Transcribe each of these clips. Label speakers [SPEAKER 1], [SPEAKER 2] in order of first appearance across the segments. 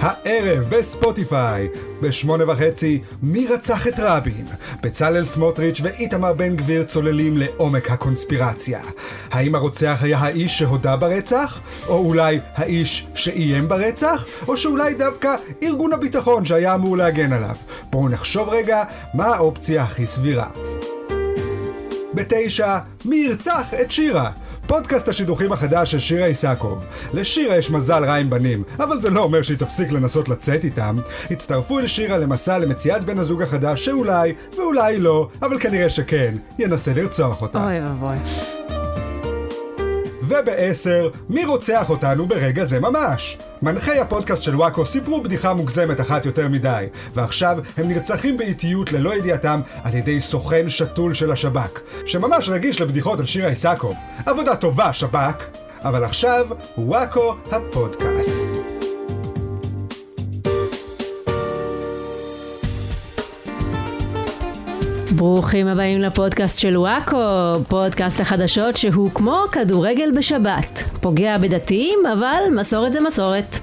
[SPEAKER 1] הערב בספוטיפיי, בשמונה וחצי, מי רצח את רבין? בצלאל סמוטריץ' ואיתמר בן גביר צוללים לעומק הקונספירציה. האם הרוצח היה האיש שהודה ברצח? או אולי האיש שאיים ברצח? או שאולי דווקא ארגון הביטחון שהיה אמור להגן עליו? בואו נחשוב רגע מה האופציה הכי סבירה. בתשע, מי ירצח את שירה? פודקאסט השידוכים החדש של שירה איסקוב. לשירה יש מזל רע עם בנים, אבל זה לא אומר שהיא תפסיק לנסות לצאת איתם. הצטרפו אל שירה למסע למציאת בן הזוג החדש שאולי, ואולי לא, אבל כנראה שכן, ינסה לרצוח אותה.
[SPEAKER 2] אוי ואבוי.
[SPEAKER 1] ובעשר, מי רוצח אותנו ברגע זה ממש? מנחי הפודקאסט של וואקו סיפרו בדיחה מוגזמת אחת יותר מדי, ועכשיו הם נרצחים באיטיות ללא ידיעתם על ידי סוכן שתול של השב"כ, שממש רגיש לבדיחות על שירה איסקוב. עבודה טובה, שב"כ! אבל עכשיו, וואקו הפודקאסט.
[SPEAKER 2] ברוכים הבאים לפודקאסט של וואקו, פודקאסט החדשות שהוא כמו כדורגל בשבת. פוגע בדתיים, אבל מסורת זה מסורת.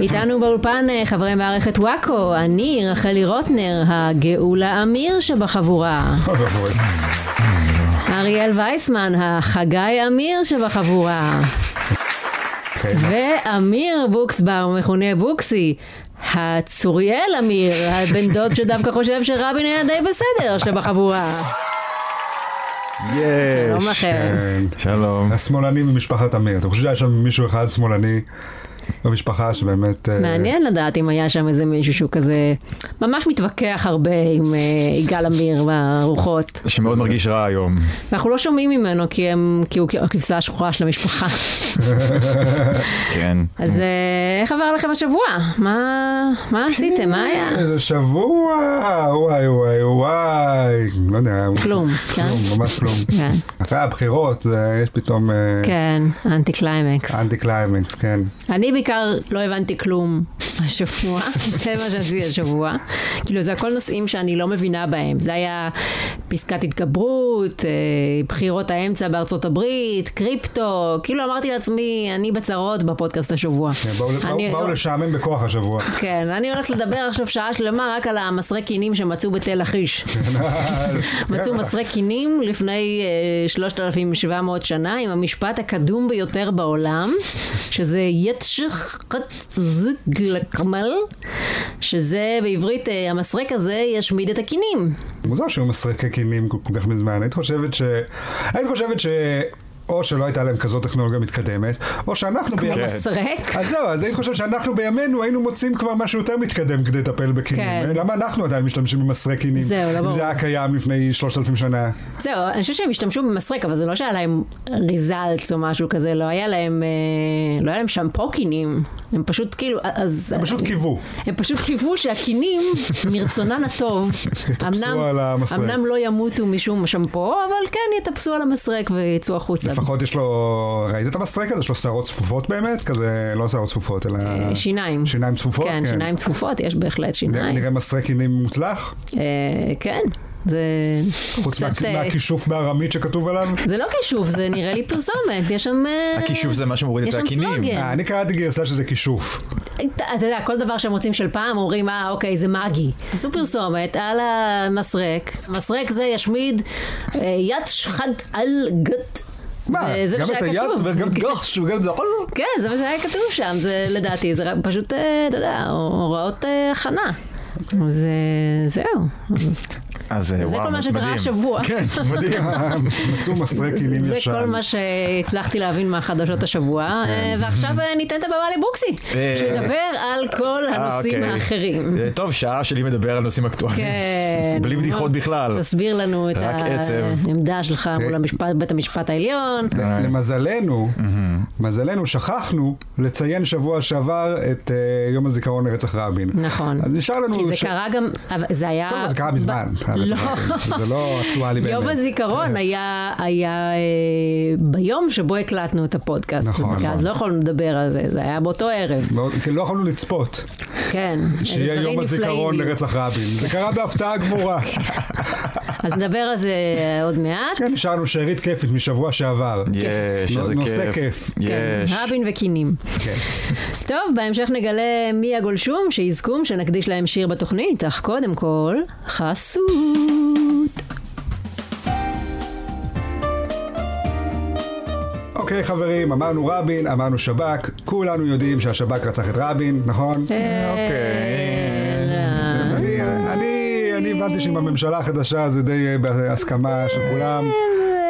[SPEAKER 2] איתנו באולפן אה, חברי מערכת וואקו, אני רחלי רוטנר, הגאולה אמיר שבחבורה.
[SPEAKER 1] אוי ואבוי.
[SPEAKER 2] אריאל וייסמן, החגי אמיר שבחבורה.
[SPEAKER 1] כן.
[SPEAKER 2] ואמיר בוקסבאום, מכונה בוקסי. הצוריאל אמיר, הבן דוד שדווקא חושב שרבין היה די בסדר שבחבורה. שלום
[SPEAKER 3] יש.
[SPEAKER 2] לכם.
[SPEAKER 1] כן.
[SPEAKER 3] שלום.
[SPEAKER 1] השמאלנים ממשפחת אמיר. אתם חושבים שהיה שם מישהו אחד שמאלני במשפחה שבאמת... אה,
[SPEAKER 2] מעניין לדעת אם היה שם איזה מישהו שהוא כזה ממש מתווכח הרבה עם אה, יגאל עמיר והרוחות.
[SPEAKER 3] שמאוד מרגיש רע היום.
[SPEAKER 2] אנחנו לא שומעים ממנו כי, הם, כי הוא הכבשה השחורה של המשפחה.
[SPEAKER 3] כן.
[SPEAKER 2] אז אה, איך עבר לכם השבוע? מה, מה עשיתם? מה היה?
[SPEAKER 1] איזה שבוע, וואי וואי וואי, לא יודע.
[SPEAKER 2] כלום, כן?
[SPEAKER 1] כלום, ממש כלום.
[SPEAKER 2] כן.
[SPEAKER 1] אחרי הבחירות אה, יש פתאום
[SPEAKER 2] כן, אנטי קליימקס.
[SPEAKER 1] אנטי קליימקס, כן.
[SPEAKER 2] אני בעיקר לא הבנתי כלום השבוע, זה מה שעשיתי השבוע. כאילו זה הכל נושאים שאני לא מבינה בהם. זה היה פסקת התגברות, אה, בחירות האמצע בארצות הברית, קריפטו, כאילו אמרתי לעצמי, אני בצרות בפודקאסט השבוע.
[SPEAKER 1] כן, באו- באו-
[SPEAKER 2] אני- לא-
[SPEAKER 1] באו לשעמם בכוח השבוע.
[SPEAKER 2] כן, אני הולכת לדבר עכשיו שעה שלמה רק על המסרי קינים שמצאו בתל לכיש.
[SPEAKER 1] כן.
[SPEAKER 2] מצאו מסרי קינים לפני אה, 3,700 שנה עם המשפט הקדום ביותר בעולם, שזה יצ'חת זגלקמל, שזה בעברית אה, המסרק הזה ישמיד את הקינים.
[SPEAKER 1] מוזר שהיו מסרקי קינים כל כל כך מזמן. היית חושבת ש... היית חושבת ש... או שלא הייתה להם כזאת טכנולוגיה מתקדמת, או שאנחנו בימינו...
[SPEAKER 2] מסרק.
[SPEAKER 1] אז זהו, אז היית חושבת שאנחנו בימינו היינו מוצאים כבר משהו יותר מתקדם כדי לטפל בקינים.
[SPEAKER 2] כן.
[SPEAKER 1] למה אנחנו עדיין משתמשים במסרי קינים?
[SPEAKER 2] זהו, לא
[SPEAKER 1] אם
[SPEAKER 2] ברור.
[SPEAKER 1] זה היה קיים לפני 3,000 שנה.
[SPEAKER 2] זהו, אני חושבת שהם השתמשו במסרק, אבל זה לא שהיה להם ריזלטס או משהו כזה, לא היה להם, אה, לא היה להם שמפו קינים. הם פשוט כאילו, אז...
[SPEAKER 1] הם פשוט קיוו.
[SPEAKER 2] הם פשוט קיוו שהקינים, מרצונן הטוב, אמנם,
[SPEAKER 1] על המסרק.
[SPEAKER 2] אמנם לא ימותו משום שמפו, אבל כן יטפסו על המסרק ויצאו החוצה.
[SPEAKER 1] לפחות יש לו, ראית את המסרק הזה? יש לו שערות צפופות באמת? כזה, לא שערות צפופות, אלא...
[SPEAKER 2] אה, שיניים.
[SPEAKER 1] שיניים צפופות?
[SPEAKER 2] כן, שיניים צפופות, יש בהחלט
[SPEAKER 1] נראה-
[SPEAKER 2] שיניים.
[SPEAKER 1] נראה מסרק עינים מוצלח?
[SPEAKER 2] אה, כן, זה
[SPEAKER 1] חוץ
[SPEAKER 2] קצת...
[SPEAKER 1] מה-
[SPEAKER 2] אה,
[SPEAKER 1] מהכישוף בארמית שכתוב עליו?
[SPEAKER 2] זה לא כישוף, זה נראה לי פרסומת, יש שם... אה,
[SPEAKER 3] הכישוף זה מה שמוריד
[SPEAKER 2] יש
[SPEAKER 3] את
[SPEAKER 2] שם
[SPEAKER 3] הקינים.
[SPEAKER 2] סלוגן.
[SPEAKER 1] אה, אני קראתי גרסה שזה כישוף.
[SPEAKER 2] אתה אתה יודע, כל דבר שהם רוצים של פעם, אומרים, אה, אוקיי, זה מגי. עשו פרסומת על המסרק. מסרק זה ישמיד אה, יד שחד על גת.
[SPEAKER 1] מה,
[SPEAKER 2] אה, זה מה
[SPEAKER 1] גם את
[SPEAKER 2] שהיה
[SPEAKER 1] היד
[SPEAKER 2] כתוב.
[SPEAKER 1] וגם גחש וגם זה...
[SPEAKER 2] כן, זה מה שהיה כתוב שם, זה לדעתי, זה רק פשוט, אה, אתה יודע, הוראות אה, הכנה. אז אה, זהו. אז
[SPEAKER 3] אז אה, וואו,
[SPEAKER 2] זה כל מה שקרה
[SPEAKER 3] מדהים.
[SPEAKER 2] השבוע.
[SPEAKER 3] כן, מדהים.
[SPEAKER 1] מצאו מסרק עינים
[SPEAKER 2] זה
[SPEAKER 1] ישן.
[SPEAKER 2] כל מה שהצלחתי להבין מהחדשות השבוע, אה, ועכשיו אה, ניתן את הבמה לבוקסיט,
[SPEAKER 3] כן. אה,
[SPEAKER 2] שידבר על כל
[SPEAKER 3] אה,
[SPEAKER 2] הנושאים
[SPEAKER 3] אוקיי.
[SPEAKER 2] האחרים.
[SPEAKER 3] אה, טוב, שעה שלי מדבר על נושאים אקטואליים.
[SPEAKER 2] כן.
[SPEAKER 3] בלי בדיחות בכלל.
[SPEAKER 2] תסביר לנו את
[SPEAKER 3] רק עצב. אה.
[SPEAKER 2] העמדה שלך מול המשפט- בית המשפט העליון.
[SPEAKER 1] למזלנו, מזלנו, שכחנו לציין שבוע שעבר את אה, יום הזיכרון לרצח רבין.
[SPEAKER 2] נכון.
[SPEAKER 1] אז נשאר לנו...
[SPEAKER 2] כי זה
[SPEAKER 1] ש-
[SPEAKER 2] קרה גם, אבל זה היה...
[SPEAKER 1] טוב, זה קרה מזמן.
[SPEAKER 2] לא.
[SPEAKER 1] זה לא אקטואלי באמת. כן. אה.
[SPEAKER 2] יום הזיכרון היה, היה אה, ביום שבו הקלטנו את הפודקאסט.
[SPEAKER 1] נכון,
[SPEAKER 2] אז-
[SPEAKER 1] נכון.
[SPEAKER 2] אז לא יכולנו לדבר על זה, זה היה באותו ערב.
[SPEAKER 1] מאוד- כי לא יכולנו לצפות
[SPEAKER 2] כן. איזה
[SPEAKER 1] שיהיה
[SPEAKER 2] דברים
[SPEAKER 1] יום
[SPEAKER 2] נפלאים.
[SPEAKER 1] הזיכרון לרצח רבין. זה קרה בהפתעה גמורה.
[SPEAKER 2] אז נדבר על זה אה, עוד מעט.
[SPEAKER 1] כן, נשארנו שארית כיפית משבוע שעבר.
[SPEAKER 3] יש, איזה כיף.
[SPEAKER 1] נושא כיף.
[SPEAKER 2] כן,
[SPEAKER 3] יש.
[SPEAKER 2] רבין וקינים.
[SPEAKER 1] כן.
[SPEAKER 2] טוב, בהמשך נגלה מי הגולשום שיזכום שנקדיש להם שיר בתוכנית, אך קודם כל, חסות.
[SPEAKER 1] אוקיי חברים, אמרנו רבין, אמרנו שב"כ, כולנו יודעים שהשב"כ רצח את רבין, נכון?
[SPEAKER 3] אוקיי.
[SPEAKER 1] אני- אני- אני הבנתי שעם הממשלה החדשה זה די אה, בהסכמה של כולם,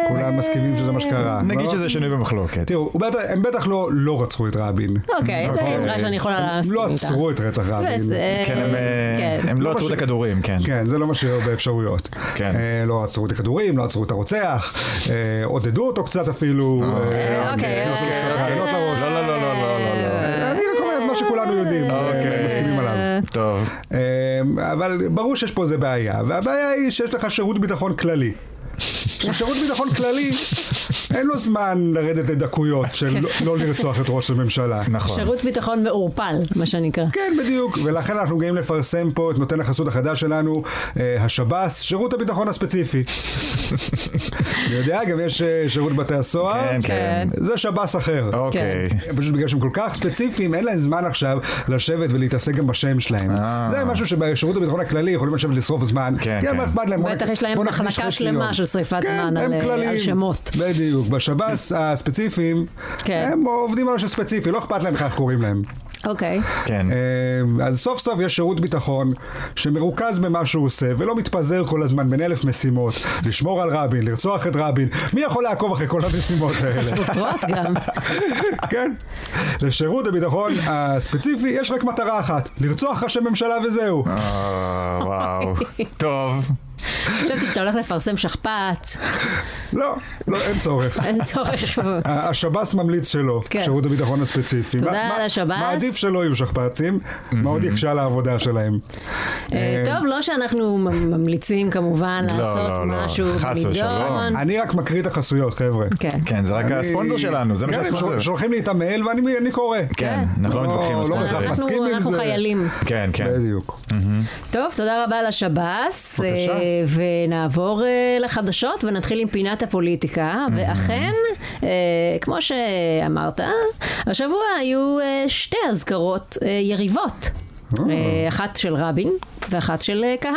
[SPEAKER 1] כולם מסכימים שזה מה שקרה.
[SPEAKER 3] נגיד
[SPEAKER 1] לא?
[SPEAKER 3] שזה שנוי במחלוקת.
[SPEAKER 1] תראו, הוא בטח- הם בטח לא לא רצחו את רבין.
[SPEAKER 2] אוקיי, זו
[SPEAKER 3] אוקיי.
[SPEAKER 2] אמרה שאני יכולה
[SPEAKER 1] הם
[SPEAKER 2] להסכים
[SPEAKER 1] לא
[SPEAKER 2] איתה. לא,
[SPEAKER 1] עצרו את רצח רבין.
[SPEAKER 2] וזה-
[SPEAKER 3] כן, הם, אה,
[SPEAKER 2] כן.
[SPEAKER 3] הם
[SPEAKER 1] לא
[SPEAKER 3] לא עצרו את
[SPEAKER 1] משהו-
[SPEAKER 3] הכדורים, כן.
[SPEAKER 1] כן, זה לא משאיר הרבה אפשרויות.
[SPEAKER 3] כן.
[SPEAKER 1] אה, לא עצרו את הכדורים, לא עצרו את הרוצח, אה, עודדו אותו קצת אפילו. אה,
[SPEAKER 2] אוקיי,
[SPEAKER 1] הכניסו לו
[SPEAKER 2] אה,
[SPEAKER 1] קצת רעיונות לראש.
[SPEAKER 3] לא, לא, לא, לא, לא, לא, לא.
[SPEAKER 1] אני רק אומר את מה שכולנו יודעים, אה,
[SPEAKER 3] אוקיי.
[SPEAKER 1] מסכימים עליו.
[SPEAKER 3] טוב.
[SPEAKER 1] אה, אבל ברור שיש פה איזה בעיה, והבעיה היא שיש לך שירות ביטחון כללי. עכשיו, שירות ביטחון כללי, אין לו זמן לרדת לדקויות של לא- לא לרצוח את ראש הממשלה.
[SPEAKER 3] נכון.
[SPEAKER 2] שירות ביטחון מעורפל, מה שנקרא.
[SPEAKER 1] כן, בדיוק, ולכן אנחנו גאים לפרסם פה את נותן החסות החדש שלנו, אה, השב"ס, שירות הביטחון הספציפי. אני יודע, גם יש אה, שירות בתי הסוהר,
[SPEAKER 3] כן, כן.
[SPEAKER 1] זה שב"ס אחר.
[SPEAKER 3] אוקיי.
[SPEAKER 2] כן.
[SPEAKER 1] פשוט בגלל שהם כל כך ספציפיים, אין להם זמן עכשיו לשבת ולהתעסק גם בשם שלהם.
[SPEAKER 3] אה.
[SPEAKER 1] זה משהו שבשירות הביטחון הכללי יכולים לשבת לשרוף זמן.
[SPEAKER 3] כן,
[SPEAKER 1] כי
[SPEAKER 3] כן.
[SPEAKER 1] מה אכפת להם? בוא
[SPEAKER 2] בטח
[SPEAKER 1] נק-
[SPEAKER 2] יש להם
[SPEAKER 1] בוא נקדיש
[SPEAKER 2] מחלקה
[SPEAKER 1] חצי
[SPEAKER 2] שלמה
[SPEAKER 1] יום.
[SPEAKER 2] של שריפת
[SPEAKER 1] כן,
[SPEAKER 2] זמן
[SPEAKER 1] הם
[SPEAKER 2] על-
[SPEAKER 1] כלליים.
[SPEAKER 2] על שמות.
[SPEAKER 1] בדיוק, בשב"ס הספציפיים,
[SPEAKER 2] כן.
[SPEAKER 1] הם עובדים על משהו ספציפי, לא אכפת להם איך קוראים להם.
[SPEAKER 2] אוקיי.
[SPEAKER 3] כן.
[SPEAKER 1] אה, אז סוף סוף יש שירות ביטחון שמרוכז במה שהוא עושה ולא מתפזר כל הזמן בין אלף משימות לשמור על רבין, לרצוח את רבין מי יכול לעקוב אחרי כל המשימות האלה?
[SPEAKER 2] סותרות גם.
[SPEAKER 1] כן. לשירות הביטחון הספציפי יש רק מטרה אחת, לרצוח ראשי ממשלה וזהו.
[SPEAKER 3] אה, וואו. טוב.
[SPEAKER 2] חשבתי שאתה הולך לפרסם שכפ"ץ,
[SPEAKER 1] לא, לא, אין צורך.
[SPEAKER 2] אין צורך. ב-
[SPEAKER 1] ה- השב"ס ממליץ שלא,
[SPEAKER 2] כן.
[SPEAKER 1] שירות הביטחון הספציפי.
[SPEAKER 2] תודה
[SPEAKER 1] מה- מה-
[SPEAKER 2] לשב"ס.
[SPEAKER 1] מעדיף שלא יהיו שכפ"צים, מאוד יקשה על העבודה שלהם.
[SPEAKER 2] אה, טוב, לא שאנחנו מ- ממליצים כמובן
[SPEAKER 3] לא,
[SPEAKER 2] לעשות
[SPEAKER 3] לא, לא.
[SPEAKER 2] משהו
[SPEAKER 3] חס
[SPEAKER 2] בנידון.
[SPEAKER 3] ושלום.
[SPEAKER 1] אני רק מקריא את החסויות, חבר'ה.
[SPEAKER 2] כן.
[SPEAKER 3] כן, זה רק
[SPEAKER 1] אני-
[SPEAKER 3] הספונדר שלנו, זה מה
[SPEAKER 1] כן, הם
[SPEAKER 3] שהספונדר.
[SPEAKER 1] שול- שולחים לי את המייל ואני אני קורא.
[SPEAKER 3] כן, אנחנו לא
[SPEAKER 1] לא-
[SPEAKER 3] מתווכחים
[SPEAKER 1] לא
[SPEAKER 3] על
[SPEAKER 1] בהכרח
[SPEAKER 3] ספונדרים.
[SPEAKER 2] אנחנו-
[SPEAKER 1] מסכים עם
[SPEAKER 2] אנחנו
[SPEAKER 1] זה.
[SPEAKER 2] חיילים.
[SPEAKER 3] כן, כן.
[SPEAKER 1] בדיוק.
[SPEAKER 2] טוב, תודה רבה לשב"ס.
[SPEAKER 1] בבקשה.
[SPEAKER 2] אה, ונעבור אה, לחדשות ונתחיל עם פינת הפוליטיקה. ואכן, אה, כמו שאמרת, השבוע היו אה, שתי אזכרות אה, יריבות. אה, אחת של רבין ואחת של אה, כהנא.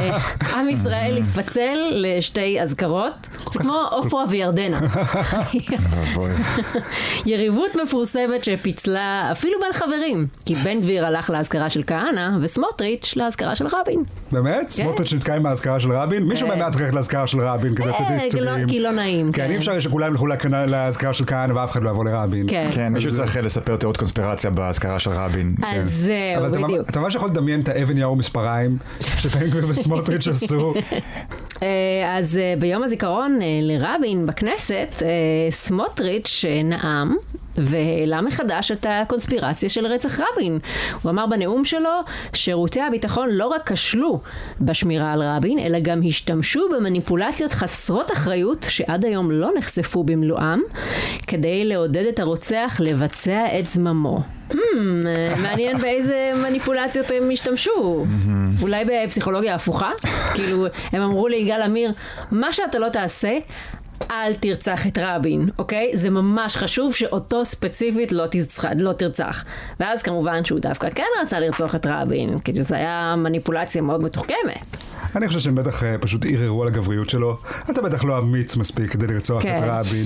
[SPEAKER 2] אה, עם ישראל התפצל לשתי אזכרות, זה כמו עופרה וירדנה.
[SPEAKER 3] אבוי.
[SPEAKER 2] יריבות מפורסמת שפיצלה אפילו בין חברים, כי בן גביר הלך לאזכרה של כהנא וסמוטריץ' לאזכרה של רבין. כן.
[SPEAKER 1] באמת? סמוטריץ' נתקע עם האזכרה של רבין? מישהו באמת צריך ללכת לאזכרה של רבין כדי לצאת
[SPEAKER 2] אה,
[SPEAKER 1] לצדדים.
[SPEAKER 2] לא- כי לא נעים.
[SPEAKER 1] כן, אי אפשר שכולם ילכו להקרנה- לאזכרה של כהנא ואף אחד לא יבוא לרבין.
[SPEAKER 2] כן.
[SPEAKER 3] כן, מישהו צריך אה, לספר תיאוריות קונספירציה באזכרה של רבין.
[SPEAKER 2] אז
[SPEAKER 1] אבל
[SPEAKER 2] זהו,
[SPEAKER 1] אתה ממש-
[SPEAKER 2] בדיוק.
[SPEAKER 1] אתה ממש יכול לדמיין את האבן יאור מספריים שבן גביר וסמוטריץ' עשו.
[SPEAKER 2] אה, אז אה, ביום הזיכרון אה, לרבין בכנסת, אה, סמוטריץ' אה, נאם. והעלה מחדש את הקונספירציה של רצח רבין. הוא אמר בנאום שלו, שירותי הביטחון לא רק כשלו בשמירה על רבין, אלא גם השתמשו במניפולציות חסרות אחריות, שעד היום לא נחשפו במלואם, כדי לעודד את הרוצח לבצע את זממו. Hmm, אה, מעניין באיזה מניפולציות הם השתמשו.
[SPEAKER 1] Mm-hmm.
[SPEAKER 2] אולי בפסיכולוגיה הפוכה? כאילו, הם אמרו ליגאל עמיר, מה שאתה לא תעשה, אל תרצח את רבין, אוקיי? זה ממש חשוב שאותו ספציפית לא, תזח... לא תרצח. ואז כמובן שהוא דווקא כן רצה לרצוח את רבין, כאילו זו הייתה מניפולציה מאוד מתוחכמת.
[SPEAKER 1] אני חושב שהם בטח אה, פשוט ערערו על הגבריות שלו. אתה בטח לא אמיץ מספיק כדי לרצוח
[SPEAKER 2] כן.
[SPEAKER 1] את רבין.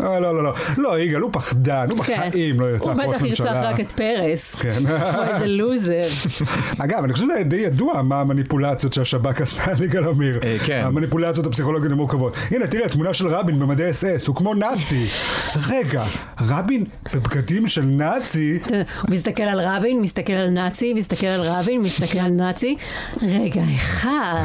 [SPEAKER 1] אה, לא, לא, לא. לא, יגאל, הוא פחדן, הוא בחיים לא ירצח ראש ממשלה.
[SPEAKER 2] כן. הוא בטח ירצח רק את פרס.
[SPEAKER 1] כן.
[SPEAKER 2] הוא איזה לוזר.
[SPEAKER 1] אגב, אני חושב שזה די ידוע מה המניפולציות שהשב"כ עשה על יגאל עמיר.
[SPEAKER 3] אה, כן.
[SPEAKER 1] המניפולציות הפסיכולוגיות המורכבות. הנה, תראה, תמונה של רבין במדי אס אס, הוא כמו נאצי. רגע, רבין בבגדים של נאצי?
[SPEAKER 2] הוא מסתכל על רבין, מסתכל על נאצי, מסתכל על רבין, מסתכל על נאצי. רגע, אחד.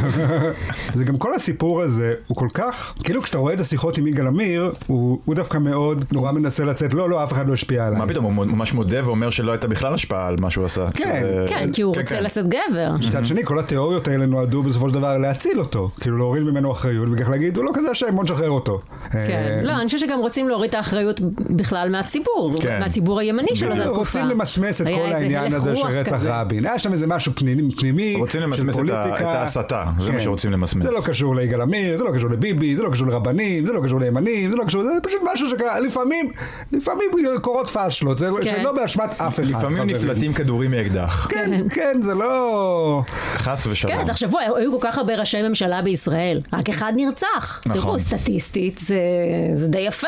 [SPEAKER 1] זה גם כל הסיפור הזה, הוא כל כך, כאילו כשאתה רואה את השיחות עם יגאל עמיר, הוא, הוא דווקא מאוד נורא מנסה לצאת, לא, לא, אף אחד לא השפיע עליי.
[SPEAKER 3] כן. מה פתאום, הוא ממש מודה ואומר שלא הייתה בכלל השפעה על מה שהוא עשה.
[SPEAKER 1] כן.
[SPEAKER 3] שזה-
[SPEAKER 2] כן, כי הוא רוצה
[SPEAKER 3] כן.
[SPEAKER 2] לצאת גבר.
[SPEAKER 1] מצד שני, כל התיאוריות האלה נועדו בסופו של דבר להציל אותו, כאילו להוריד ממנו אחריות, וכך להגיד, הוא לא כזה אשם, בוא נשחרר אותו.
[SPEAKER 2] כן,
[SPEAKER 1] אה,
[SPEAKER 2] לא, אני חושבת שגם רוצים להוריד את האחריות בכלל מהציבור,
[SPEAKER 3] כן.
[SPEAKER 2] מהציבור הימני של אותה תקופה.
[SPEAKER 1] רוצים למסמס את
[SPEAKER 2] היה
[SPEAKER 1] כל
[SPEAKER 2] איזה
[SPEAKER 1] העניין
[SPEAKER 2] הלך
[SPEAKER 1] הזה של
[SPEAKER 2] רוח
[SPEAKER 1] רצח
[SPEAKER 2] כזה.
[SPEAKER 1] רבין. היה שם איזה משהו פנימי, פנימי,
[SPEAKER 3] רוצים
[SPEAKER 1] של
[SPEAKER 3] למסמס את ה-
[SPEAKER 1] פוליטיקה.
[SPEAKER 3] את ההסתה. זה מה
[SPEAKER 1] כן.
[SPEAKER 3] שרוצים למסמס.
[SPEAKER 1] זה לא קשור ליגאל עמיר, זה לא קשור לביבי, זה לא קשור לרבנים, זה לא קשור לימנים, זה לא קשור, זה פשוט משהו שקרה, לפעמים, לפעמים קורות פאשלות, זה לא-
[SPEAKER 2] כן.
[SPEAKER 1] שלא באשמת אף אחד.
[SPEAKER 3] לפעמים
[SPEAKER 1] חברים.
[SPEAKER 3] נפלטים כדורים מאקדח,
[SPEAKER 1] כן, כן, זה לא...
[SPEAKER 3] חס ושלום.
[SPEAKER 2] כן, תחשבו, היו כל כך הרבה ראשי ממשלה בישראל, רק אחד נרצח.
[SPEAKER 3] נכון.
[SPEAKER 2] תראו, סטטיסטית זה, זה די יפה.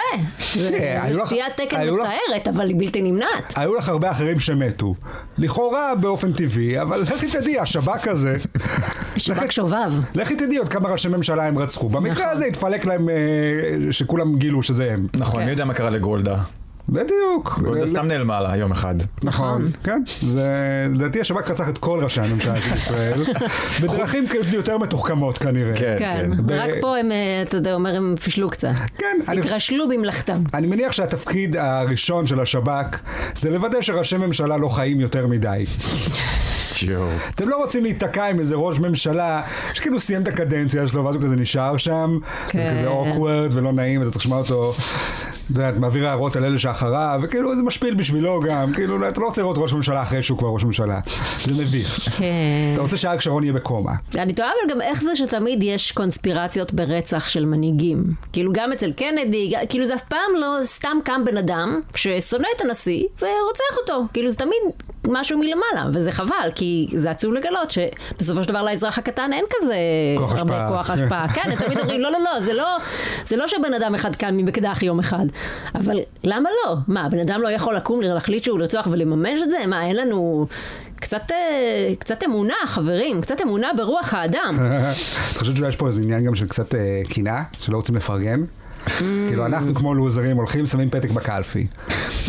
[SPEAKER 2] זה
[SPEAKER 1] כן, היו לך-
[SPEAKER 2] סטיית תקן
[SPEAKER 1] היו לך-
[SPEAKER 2] מצערת, אבל היא בלתי נמנעת.
[SPEAKER 1] היו לך הרבה אחרים שמתו. לכאורה באופן טבעי, אבל לכי תדעי, השב"כ הזה...
[SPEAKER 2] שב"כ
[SPEAKER 1] לכי-
[SPEAKER 2] שובב.
[SPEAKER 1] לכי תדעי עוד כמה ראשי ממשלה הם רצחו. במקרה הזה התפלק להם אה, שכולם גילו שזה הם.
[SPEAKER 3] נכון,
[SPEAKER 2] כן.
[SPEAKER 3] מי יודע מה קרה לגולדה?
[SPEAKER 1] בדיוק. אה,
[SPEAKER 3] גולדה סתם נעלמה לה יום אחד.
[SPEAKER 1] נכון, כן. זה- לדעתי השב"כ רצח את כל ראשי הממשלה של ישראל, בדרכים כאילו יותר מתוחכמות כנראה.
[SPEAKER 3] כן,
[SPEAKER 2] כן,
[SPEAKER 3] כן.
[SPEAKER 2] רק
[SPEAKER 1] ב-
[SPEAKER 2] פה הם, אה, אתה יודע, אומר, הם פישלו קצת.
[SPEAKER 1] כן, אני-
[SPEAKER 2] התרשלו במלאכתם.
[SPEAKER 1] אני מניח שהתפקיד הראשון של השב"כ זה לוודא שראשי ממשלה לא חיים יותר מדי.
[SPEAKER 3] יואו.
[SPEAKER 1] אתם לא רוצים להיתקע עם איזה ראש ממשלה שכאילו סיים את הקדנציה שלו ואז הוא כזה נשאר שם,
[SPEAKER 2] כן.
[SPEAKER 1] זה כזה awkward ולא נעים, אתה צריך לשמוע אותו, אתה יודע, את מעביר הערות על אלה שאחריו, וכאילו זה משפיל בשבילו גם, כאילו אתה לא רוצה לראות ראש ממשלה אחרי שהוא כבר ראש ממשלה, זה מביך.
[SPEAKER 2] כן.
[SPEAKER 1] אתה רוצה שאריק שרון יהיה בקומה.
[SPEAKER 2] אני תוהה אבל גם איך זה שתמיד יש קונספירציות ברצח של מנהיגים. כאילו גם אצל קנדי, ג- כאילו זה אף פעם לא סתם קם בן אדם ששונא את הנשיא ורוצח אותו. כאילו זה תמיד משהו מלמעלה, וזה חבל, כי זה עצוב לגלות שבסופו של דבר לאזרח הקטן אין כזה
[SPEAKER 1] כוח
[SPEAKER 2] הרבה
[SPEAKER 1] השפעה.
[SPEAKER 2] כוח השפעה. כן, הם תמיד אומרים, לא, לא, לא, זה לא, זה לא שבן אדם אחד קם ממקדח יום אחד. אבל למה לא? מה, בן אדם לא יכול לקום, להחליט שהוא לרצוח ולממש את זה? מה, אין לנו... קצת, אה, קצת אמונה, חברים, קצת אמונה ברוח האדם.
[SPEAKER 1] אתה חושב שיש פה איזה עניין גם של קצת אה, קנאה, שלא רוצים לפרגן? כאילו אנחנו כמו לוזרים הולכים, שמים פתק בקלפי.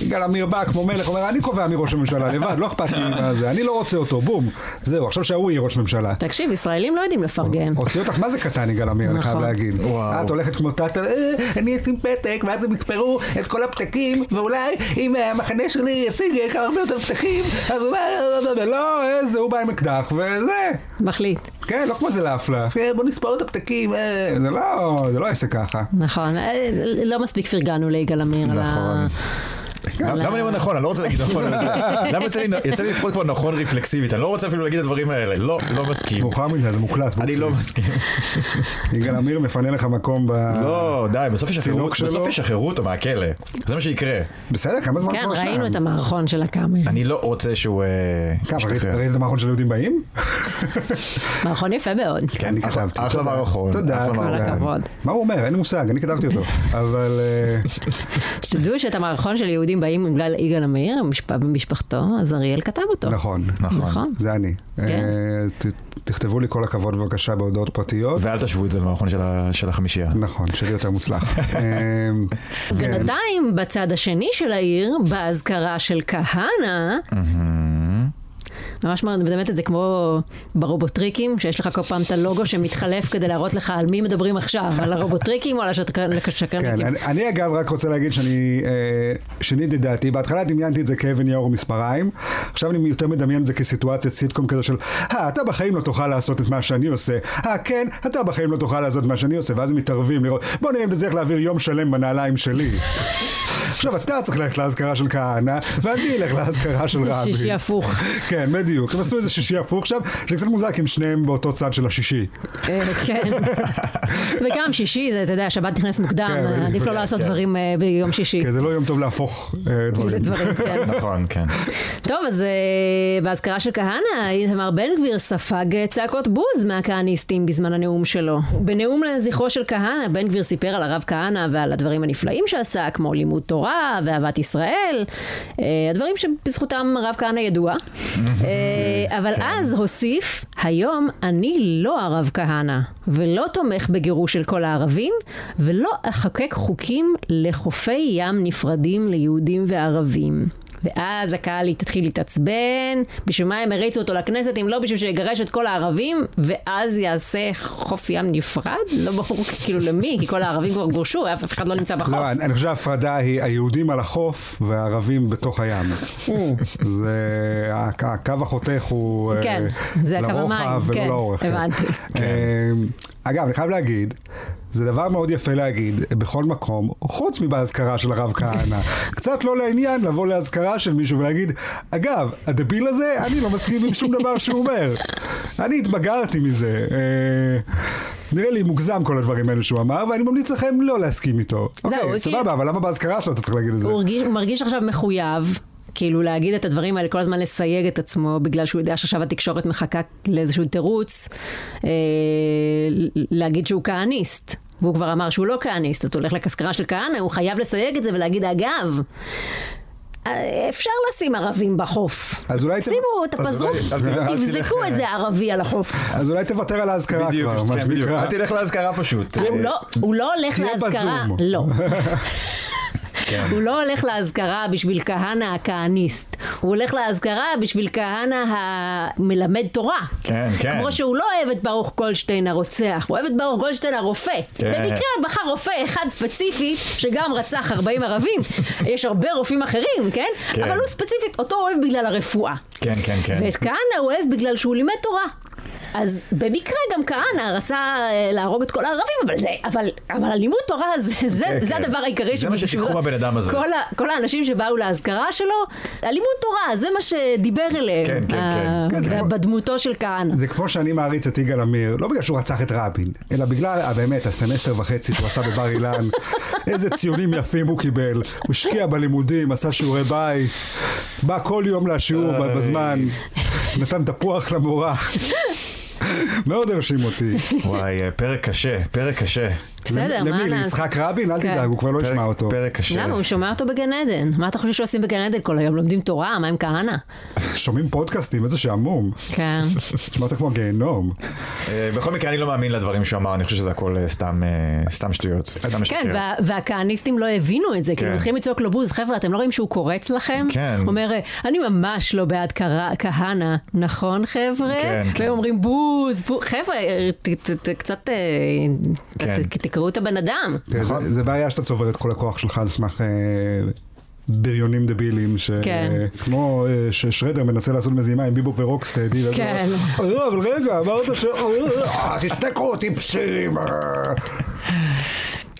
[SPEAKER 1] יגאל עמיר בא כמו מלך, אומר אני קובע מי ראש הממשלה לבד, לא אכפת לי מה זה, אני לא רוצה אותו, בום. זהו, עכשיו שההוא יהיה ראש ממשלה.
[SPEAKER 2] תקשיב, ישראלים לא יודעים לפרגן.
[SPEAKER 1] הוציא אותך מה זה קטן יגאל עמיר, אני חייב
[SPEAKER 2] נכון.
[SPEAKER 1] להגיד.
[SPEAKER 3] וואו.
[SPEAKER 1] את הולכת כמו טאטה, "אה, אני אשים פתק, ואז הם יספרו את כל הפתקים, ואולי אם המחנה שלי ישיג כמה הרבה יותר פתקים, אז אולי... לא, אה, זה הוא בא עם אקדח, וזה.
[SPEAKER 2] מחליט.
[SPEAKER 1] כן, לא כמו זה לאפלה. "אה, בוא נספור את הפתקים, אה, זה לא, זה לא עסק ככה.
[SPEAKER 2] נכון. אה, לא מספיק פרגנו ליגאל עמיר. על ה-
[SPEAKER 3] נכון. למה אני אומר נכון? אני לא רוצה להגיד נכון. על זה. למה יצא לי- יצא לי לפחות כבר נכון רפלקסיבית? אני לא רוצה אפילו להגיד את הדברים האלה. לא, לא מסכים.
[SPEAKER 1] מאוחר מדי, זה מוקלט.
[SPEAKER 3] אני לא מסכים.
[SPEAKER 1] יגאל עמיר מפנה לך מקום ב...
[SPEAKER 3] לא, די, בסוף ישחררו
[SPEAKER 1] צינוק שלו?
[SPEAKER 3] בסוף ישחררו אותו מהכלא. זה מה שיקרה.
[SPEAKER 1] בסדר, כמה זמן
[SPEAKER 2] כן,
[SPEAKER 1] כבר שם?
[SPEAKER 2] ראינו את המערכון של הקאמרי.
[SPEAKER 3] אני לא רוצה שהוא... אה,
[SPEAKER 1] כמה, ראית-
[SPEAKER 3] ישתחרר.
[SPEAKER 1] ראית את המערכון של יהודים באים?
[SPEAKER 2] מערכון יפה מאוד.
[SPEAKER 3] כן,
[SPEAKER 1] אני
[SPEAKER 3] אחלה-
[SPEAKER 1] כתבתי.
[SPEAKER 3] אחלה
[SPEAKER 1] תודה.
[SPEAKER 3] מערכון.
[SPEAKER 1] תודה,
[SPEAKER 3] אחלה
[SPEAKER 1] תודה.
[SPEAKER 2] כל
[SPEAKER 3] מערכון.
[SPEAKER 2] הכבוד.
[SPEAKER 1] מה הוא אומר? אין לי מושג, אני כתבתי אותו. אבל... אה,
[SPEAKER 2] שתדעו שאת המערכון של יהודים באים בגלל יגאל עמיר, המשפ- ומשפחתו, אז אריאל כתב אותו.
[SPEAKER 1] נכון.
[SPEAKER 2] נכון.
[SPEAKER 1] זה אני.
[SPEAKER 2] כן.
[SPEAKER 1] אה, ת- תכתבו לי כל הכבוד בבקשה בהודעות פרטיות.
[SPEAKER 3] ואל תשוו את זה למערכון של ה- של החמישייה.
[SPEAKER 1] נכון, שלי יותר מוצלח. אה, כן.
[SPEAKER 2] בינתיים, בצד השני של העיר, באזכרה של כהנא, ממש מדמת את זה כמו ברובוטריקים, שיש לך כל פעם את הלוגו שמתחלף כדי להראות לך על מי מדברים עכשיו, על הרובוטריקים או על
[SPEAKER 1] כן,
[SPEAKER 2] השקרניקים.
[SPEAKER 1] אני- אני אגב רק רוצה להגיד שאני אה, שיניתי את דעתי, בהתחלה דמיינתי את זה כאבן יאור ומספריים, עכשיו אני יותר מדמיין את זה כסיטואציית סיטקום כזה של, אה, אתה בחיים לא תוכל לעשות את מה שאני עושה, אה, כן, אתה בחיים לא תוכל לעשות את מה שאני עושה, ואז הם מתערבים לראות, בוא נראה אם אתה צריך להעביר יום שלם בנעליים שלי. עכשיו אתה צריך ללכת לאזכרה של כהנא, ואני אלך לאזכרה של רבין.
[SPEAKER 2] שישי הפוך.
[SPEAKER 1] כן, בדיוק. הם עשו איזה שישי הפוך עכשיו, זה קצת מוזר כי הם שניהם באותו צד של השישי.
[SPEAKER 2] אה, כן. וגם שישי, זה, אתה יודע, שבת נכנס מוקדם,
[SPEAKER 1] כן, בדיוק.
[SPEAKER 2] עדיף לא לעשות
[SPEAKER 3] כן.
[SPEAKER 2] דברים אה, ביום שישי.
[SPEAKER 1] כי זה לא יום טוב להפוך אה,
[SPEAKER 2] זה
[SPEAKER 1] דברים.
[SPEAKER 2] דברים, כן.
[SPEAKER 3] נכון, כן.
[SPEAKER 2] טוב, אז אה, באזכרה של כהנא, איתמר בן גביר ספג אה, צעקות בוז מהכהניסטים בזמן הנאום שלו. בנאום לזכרו של כהנא, בן גביר סיפר על הרב כהנא ועל הדברים הנפלאים שעשה, כמו לימוד תורה ואהבת ישראל, אה, הדברים שבזכותם הרב כהנא ידוע. אה, אבל אז הוסיף, היום אני לא הרב כהנא, ולא תומך בגירוש של כל הערבים, ולא אחקק חוקים לחופי ים נפרדים ליהודים וערבים. ואז הקהל התחיל להתעצבן, בשביל מה הם הריצו אותו לכנסת, אם לא בשביל שיגרש את כל הערבים, ואז יעשה חוף ים נפרד? לא ברור כאילו למי, כי כל הערבים כבר גורשו, אף אחד לא נמצא בחוף.
[SPEAKER 1] לא, אני אני חושב שההפרדה היא היהודים על החוף והערבים בתוך הים. זה הק- הקו החותך הוא אה,
[SPEAKER 2] כן, זה הקו המים,
[SPEAKER 1] לרוחב ולא
[SPEAKER 2] כן,
[SPEAKER 1] לאורך.
[SPEAKER 2] הבנתי.
[SPEAKER 1] אה, אגב, אני חייב להגיד זה דבר מאוד יפה להגיד בכל מקום, חוץ מבאזכרה של הרב כהנא. קצת לא לעניין לבוא לאזכרה של מישהו ולהגיד, אגב, הדביל הזה, אני לא מסכים עם שום דבר שהוא אומר. אני התבגרתי מזה. אה, נראה לי מוגזם כל הדברים האלה שהוא אמר, ואני ממליץ לכם לא להסכים איתו. אוקיי,
[SPEAKER 2] הוא
[SPEAKER 1] סבבה,
[SPEAKER 2] כאילו-
[SPEAKER 1] אבל למה באזכרה שלו אתה צריך להגיד את זה?
[SPEAKER 2] הוא הרגיש- הוא מרגיש עכשיו מחויב. כאילו להגיד את הדברים האלה, כל הזמן לסייג את עצמו, בגלל שהוא יודע שעכשיו התקשורת מחכה לאיזשהו תירוץ, אה, להגיד שהוא כהניסט. והוא כבר אמר שהוא לא כהניסט, אז הוא הולך לאזכרה של כהנא, הוא חייב לסייג את זה ולהגיד, אגב, אה, אפשר לשים ערבים בחוף.
[SPEAKER 1] אז אולי ת-
[SPEAKER 2] שימו את
[SPEAKER 1] אז
[SPEAKER 2] הפזוף,
[SPEAKER 3] אולי- אל תלך-
[SPEAKER 2] תבזקו
[SPEAKER 3] אל תלך- אה,
[SPEAKER 2] איזה ערבי על החוף.
[SPEAKER 1] אז אולי תוותר על האזכרה
[SPEAKER 3] בדיוק,
[SPEAKER 1] כבר, מה
[SPEAKER 3] כן, בדיוק.
[SPEAKER 1] שנקרא.
[SPEAKER 3] אל תלך לאזכרה פשוט.
[SPEAKER 2] הוא לא- הוא לא הולך
[SPEAKER 1] תהיה
[SPEAKER 2] לאזכרה,
[SPEAKER 1] בזום.
[SPEAKER 2] לא.
[SPEAKER 3] כן.
[SPEAKER 2] הוא לא הולך לאזכרה בשביל כהנא הכהניסט, הוא הולך לאזכרה בשביל כהנא המלמד תורה.
[SPEAKER 3] כן, כן.
[SPEAKER 2] כמו שהוא לא אוהב את ברוך גולדשטיין הרוצח, הוא אוהב את ברוך גולדשטיין הרופא.
[SPEAKER 3] כן.
[SPEAKER 2] במקרה בחר רופא אחד ספציפי, שגם רצח 40 ערבים, יש הרבה רופאים אחרים, כן?
[SPEAKER 3] כן.
[SPEAKER 2] אבל הוא ספציפית, אותו הוא אוהב בגלל הרפואה.
[SPEAKER 3] כן, כן, כן.
[SPEAKER 2] ואת כהנא הוא אוהב בגלל שהוא לימד תורה. אז במקרה גם כהנא רצה אה, להרוג את כל הערבים, אבל זה, אבל, אבל הלימוד תורה זה, זה,
[SPEAKER 3] כן,
[SPEAKER 2] זה
[SPEAKER 3] כן.
[SPEAKER 2] הדבר העיקרי.
[SPEAKER 3] זה מה
[SPEAKER 2] שבשבילו-
[SPEAKER 3] ששיכחו בבן אדם הזה.
[SPEAKER 2] כל, ה, כל האנשים שבאו לאזכרה שלו, הלימוד תורה, זה מה שדיבר אליהם.
[SPEAKER 3] כן, כן,
[SPEAKER 2] ה-
[SPEAKER 1] כן. כן, זה כמו-
[SPEAKER 2] בדמותו של כהנא.
[SPEAKER 1] זה כמו שאני מעריץ את יגאל עמיר, לא בגלל שהוא רצח את רבין, אלא בגלל, אה, באמת, הסמסטר וחצי שהוא עשה בבר אילן, איזה ציונים יפים הוא קיבל, הוא השקיע בלימודים, עשה שיעורי בית, בא כל יום לשיעור
[SPEAKER 3] איי.
[SPEAKER 1] בזמן, נתן תפוח למורה. מאוד הרשים אותי.
[SPEAKER 3] וואי, אה, פרק קשה, פרק קשה.
[SPEAKER 2] בסדר,
[SPEAKER 1] למי?
[SPEAKER 2] מה
[SPEAKER 1] למי?
[SPEAKER 2] לעשות?
[SPEAKER 1] ליצחק רבין? אל
[SPEAKER 2] כן.
[SPEAKER 1] תדאג, הוא כבר לא
[SPEAKER 3] פרק-
[SPEAKER 1] ישמע אותו.
[SPEAKER 3] פרק קשה.
[SPEAKER 2] למה? הוא שומע אותו בגן עדן. מה אתה חושב שעושים בגן עדן כל היום? לומדים תורה? מה עם כהנא?
[SPEAKER 1] שומעים פודקאסטים, איזה שעמום.
[SPEAKER 2] כן.
[SPEAKER 1] נשמעת כמו גיהנום.
[SPEAKER 3] אה, בכל מקרה, אני לא מאמין לדברים שהוא אמר, אני חושב שזה הכל אה, סתם אה, סתם שטויות. סתם
[SPEAKER 2] כן,
[SPEAKER 3] שקר.
[SPEAKER 2] וה- והכהניסטים לא הבינו את זה, כי הם
[SPEAKER 3] כן.
[SPEAKER 2] מתחילים לצעוק לו בוז, חבר'ה, אתם לא רואים שהוא קורץ לכם?
[SPEAKER 3] כן.
[SPEAKER 2] הוא אומר, אני ממש לא בעד קרא- כהנא, נכון חבר'ה?
[SPEAKER 3] כן, כן.
[SPEAKER 2] והם אומרים בוז, בוז." חבר'ה, ת- ת- ת- קצת, אה,
[SPEAKER 3] כן.
[SPEAKER 2] ת- תקראו את הבן אדם.
[SPEAKER 1] כן,
[SPEAKER 3] נכון.
[SPEAKER 1] זה- זה בעיה שאתה צובר את כל הכוח שלך על סמך אה, בריונים דבילים, ש-
[SPEAKER 2] כן.
[SPEAKER 1] אה, כמו אה, ששרדר מנסה לעשות מזימה עם ביבופ ורוקסטיידי. ואז הוא
[SPEAKER 2] כן.
[SPEAKER 1] אומר, "אה, אבל רגע, אמרת ש... אה, תשתקו טיפשים. אה."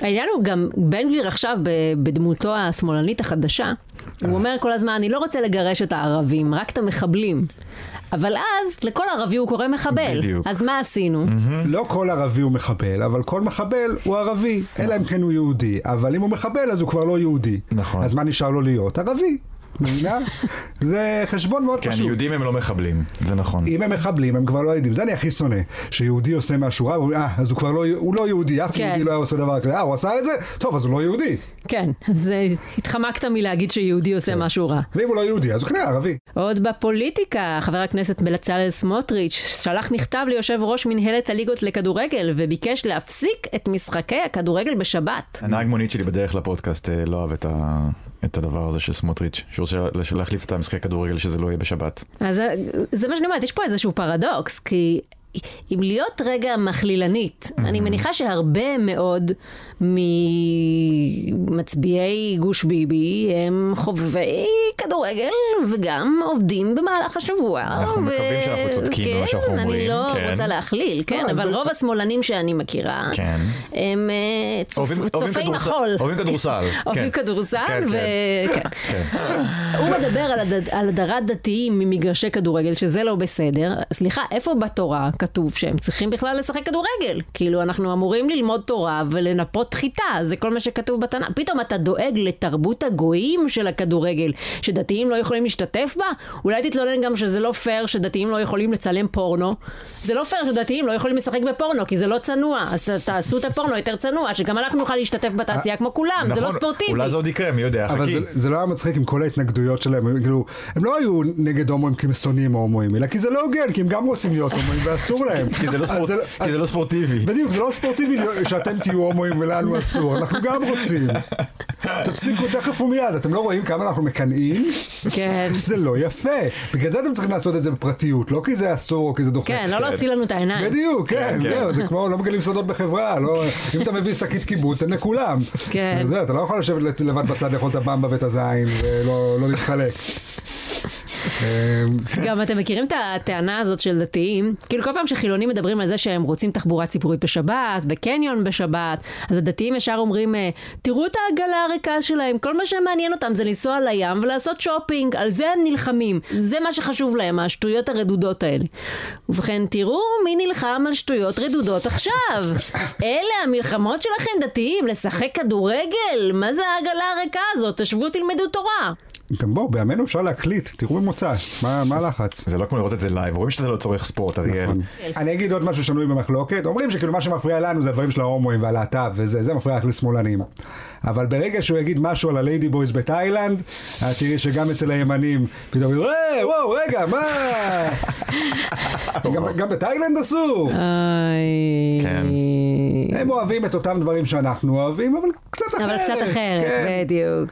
[SPEAKER 2] העניין הוא גם, בן גביר עכשיו, ב- בדמותו השמאלנית החדשה,
[SPEAKER 3] אה.
[SPEAKER 2] הוא אומר כל הזמן, אני לא רוצה לגרש את הערבים, רק את המחבלים. אבל אז, לכל ערבי הוא קורא מחבל.
[SPEAKER 3] בדיוק.
[SPEAKER 2] אז מה עשינו?
[SPEAKER 1] לא כל ערבי הוא מחבל, אבל כל מחבל הוא ערבי, אלא אם כן הוא יהודי. אבל אם הוא מחבל, אז הוא כבר לא יהודי.
[SPEAKER 3] נכון.
[SPEAKER 1] אז מה נשאר לו להיות? ערבי. מבינה? זה חשבון מאוד
[SPEAKER 3] כן,
[SPEAKER 1] פשוט.
[SPEAKER 3] יהודים הם לא מחבלים, זה נכון.
[SPEAKER 1] אם הם מחבלים, הם כבר לא יודעים. זה אני הכי שונא. שיהודי עושה משהו רע, הוא- אה, אז הוא כבר לא, הוא לא יהודי, אף
[SPEAKER 2] כן.
[SPEAKER 1] יהודי לא היה עושה דבר כזה. אה, הוא עשה את זה? טוב, אז הוא לא יהודי.
[SPEAKER 2] כן, אז אה, התחמקת מלהגיד שיהודי עושה
[SPEAKER 3] כן.
[SPEAKER 2] משהו רע.
[SPEAKER 1] ואם הוא לא יהודי, אז הוא כנראה ערבי.
[SPEAKER 2] עוד בפוליטיקה, חבר הכנסת בצלאל סמוטריץ' שלח מכתב ליושב ראש מנהלת הליגות לכדורגל וביקש להפסיק את משחקי הכדורגל בשבת.
[SPEAKER 3] הנהג מונית שלי בדרך לפודקאסט אה, לא אהב את ה- את הדבר הזה של סמוטריץ', שהוא רוצה לש- להחליף את המשחקי כדורגל שזה לא יהיה בשבת.
[SPEAKER 2] אז אה, זה מה שאני אומרת, יש פה איזשהו פרדוקס, כי אם להיות רגע מכלילנית,
[SPEAKER 3] Mm-hmm.
[SPEAKER 2] אני מניחה שהרבה מאוד ממצביעי גוש ביבי הם חובבי כדורגל וגם עובדים במהלך השבוע.
[SPEAKER 3] אנחנו מקווים שאנחנו צודקים במה שאנחנו
[SPEAKER 2] כן, אני
[SPEAKER 3] אומרים,
[SPEAKER 2] לא
[SPEAKER 3] כן.
[SPEAKER 2] רוצה להכליל, כן,
[SPEAKER 1] אז
[SPEAKER 2] אבל
[SPEAKER 1] ב-
[SPEAKER 2] רוב השמאלנים שאני מכירה,
[SPEAKER 3] כן.
[SPEAKER 2] הם אה, צופ-
[SPEAKER 3] אוהבים- אוהבים
[SPEAKER 2] צופי
[SPEAKER 3] כדורסל-
[SPEAKER 2] מחול.
[SPEAKER 3] אוהבים כדורסל.
[SPEAKER 2] אוהבים
[SPEAKER 3] כן.
[SPEAKER 2] כדורסל,
[SPEAKER 3] כן,
[SPEAKER 2] ו... כן.
[SPEAKER 3] כן.
[SPEAKER 2] הוא מדבר על הד- על הדרת דתיים ממגרשי כדורגל, שזה לא בסדר. סליחה, איפה בתורה כתוב שהם צריכים בכלל לשחק כדורגל? כאילו, אנחנו אמורים ללמוד תורה ולנפות חיטה, זה כל מה שכתוב בתנ"ך. פתאום אתה דואג לתרבות הגויים של הכדורגל, שדתיים לא יכולים להשתתף בה? אולי תתלונן גם שזה לא פייר שדתיים לא יכולים לצלם פורנו. זה לא פייר שדתיים לא יכולים לשחק בפורנו, כי זה לא צנוע. אז ת- תעשו את הפורנו יותר צנוע, שגם אנחנו נוכל להשתתף בתעשייה כמו כולם, זה לא
[SPEAKER 3] נכון,
[SPEAKER 2] ספורטיבי.
[SPEAKER 3] אולי זה עוד יקרה, מי יודע,
[SPEAKER 1] אבל
[SPEAKER 3] חכי.
[SPEAKER 1] זה- זה לא היה מצחיק עם כל ההתנגדויות שלהם. הם כאילו, הם לא היו נגד הומואים כי הם שונאים הומואים, אלא כי זה לא הוגן, כי הם גם רוצים להיות הומואים ואסור להם.
[SPEAKER 3] כי זה לא
[SPEAKER 1] אז
[SPEAKER 3] ספורט- כי
[SPEAKER 1] אה,
[SPEAKER 3] זה לא ספורטיבי.
[SPEAKER 1] בדיוק, זה לא ספורטיבי להיות- שאתם תהיו הומואים ולנו אסור, אנחנו גם רוצים. תפסיקו תכף ומיד, אתם לא רואים כמה אנחנו מקנאים?
[SPEAKER 2] כן.
[SPEAKER 1] זה לא יפה. בגלל זה אתם צריכים לעשות את זה בפרטיות, לא כי זה אסור או כי זה דוחה.
[SPEAKER 2] כן, לא להוציא לנו את העיניים.
[SPEAKER 1] בדיוק, כן,
[SPEAKER 3] כן, כן.
[SPEAKER 1] זהו, זה כמו לא מגלים סודות בחברה, לא- אם אתה מביא שקית כיבוד, תן לכולם.
[SPEAKER 2] כן.
[SPEAKER 1] זה, אתה לא יכול לשבת לבד בצד לאכול את הבמבה ואת הזין ולא לא להתחלק. אמ,
[SPEAKER 2] גם אתם מכירים את הטענה הזאת של דתיים? כאילו כל פעם שחילונים מדברים על זה שהם רוצים תחבורה ציבורית בשבת, בקניון בשבת, אז הדתיים ישר אומרים, אה, תראו את העגלה הריקה שלהם, כל מה שמעניין אותם זה לנסוע לים ולעשות שופינג, על זה הם נלחמים. זה מה שחשוב להם, השטויות הרדודות האלה. ובכן, תראו מי נלחם על שטויות רדודות עכשיו. אלה המלחמות שלכם, דתיים, לשחק כדורגל? מה זה העגלה הריקה הזאת? תשבו, תלמדו תורה.
[SPEAKER 1] גם בואו, בימינו אפשר להקליט, תראו במוצ"ש, מה מה הלחץ?
[SPEAKER 3] זה לא כמו לראות את זה לייב, רואים שאתה לא צורך ספורט, אריאל.
[SPEAKER 1] נכון. אני אגיד עוד משהו שנוי במחלוקת, אומרים שכאילו מה שמפריע לנו זה הדברים של ההומואים והלהט"ב וזה, זה מפריע רק לשמאלנים. אבל ברגע שהוא יגיד משהו על הליידי בויז בתאילנד, את תראי שגם אצל הימנים פתאום יגידו, "אה, וואו, רגע, מה? גם- גם בתאילנד אסור.
[SPEAKER 2] איי.
[SPEAKER 3] כן.
[SPEAKER 1] הם אוהבים את אותם דברים שאנחנו אוהבים, אבל קצת אחרת.
[SPEAKER 2] אבל קצת אחרת,
[SPEAKER 1] כן.
[SPEAKER 2] בדיוק.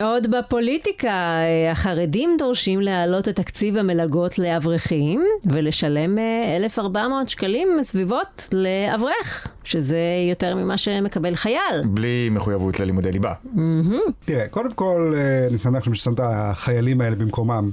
[SPEAKER 2] עוד בפוליטיקה, אה, החרדים דורשים להעלות את תקציב המלגות לאברכים ולשלם אה, 1,400 שקלים סביבות לאברך, שזה יותר ממה שמקבל חייל.
[SPEAKER 3] בלי מחויבות ללימודי ליבה.
[SPEAKER 1] תראה, קודם כל, אה, אני שמח ששמת החיילים האלה במקומם.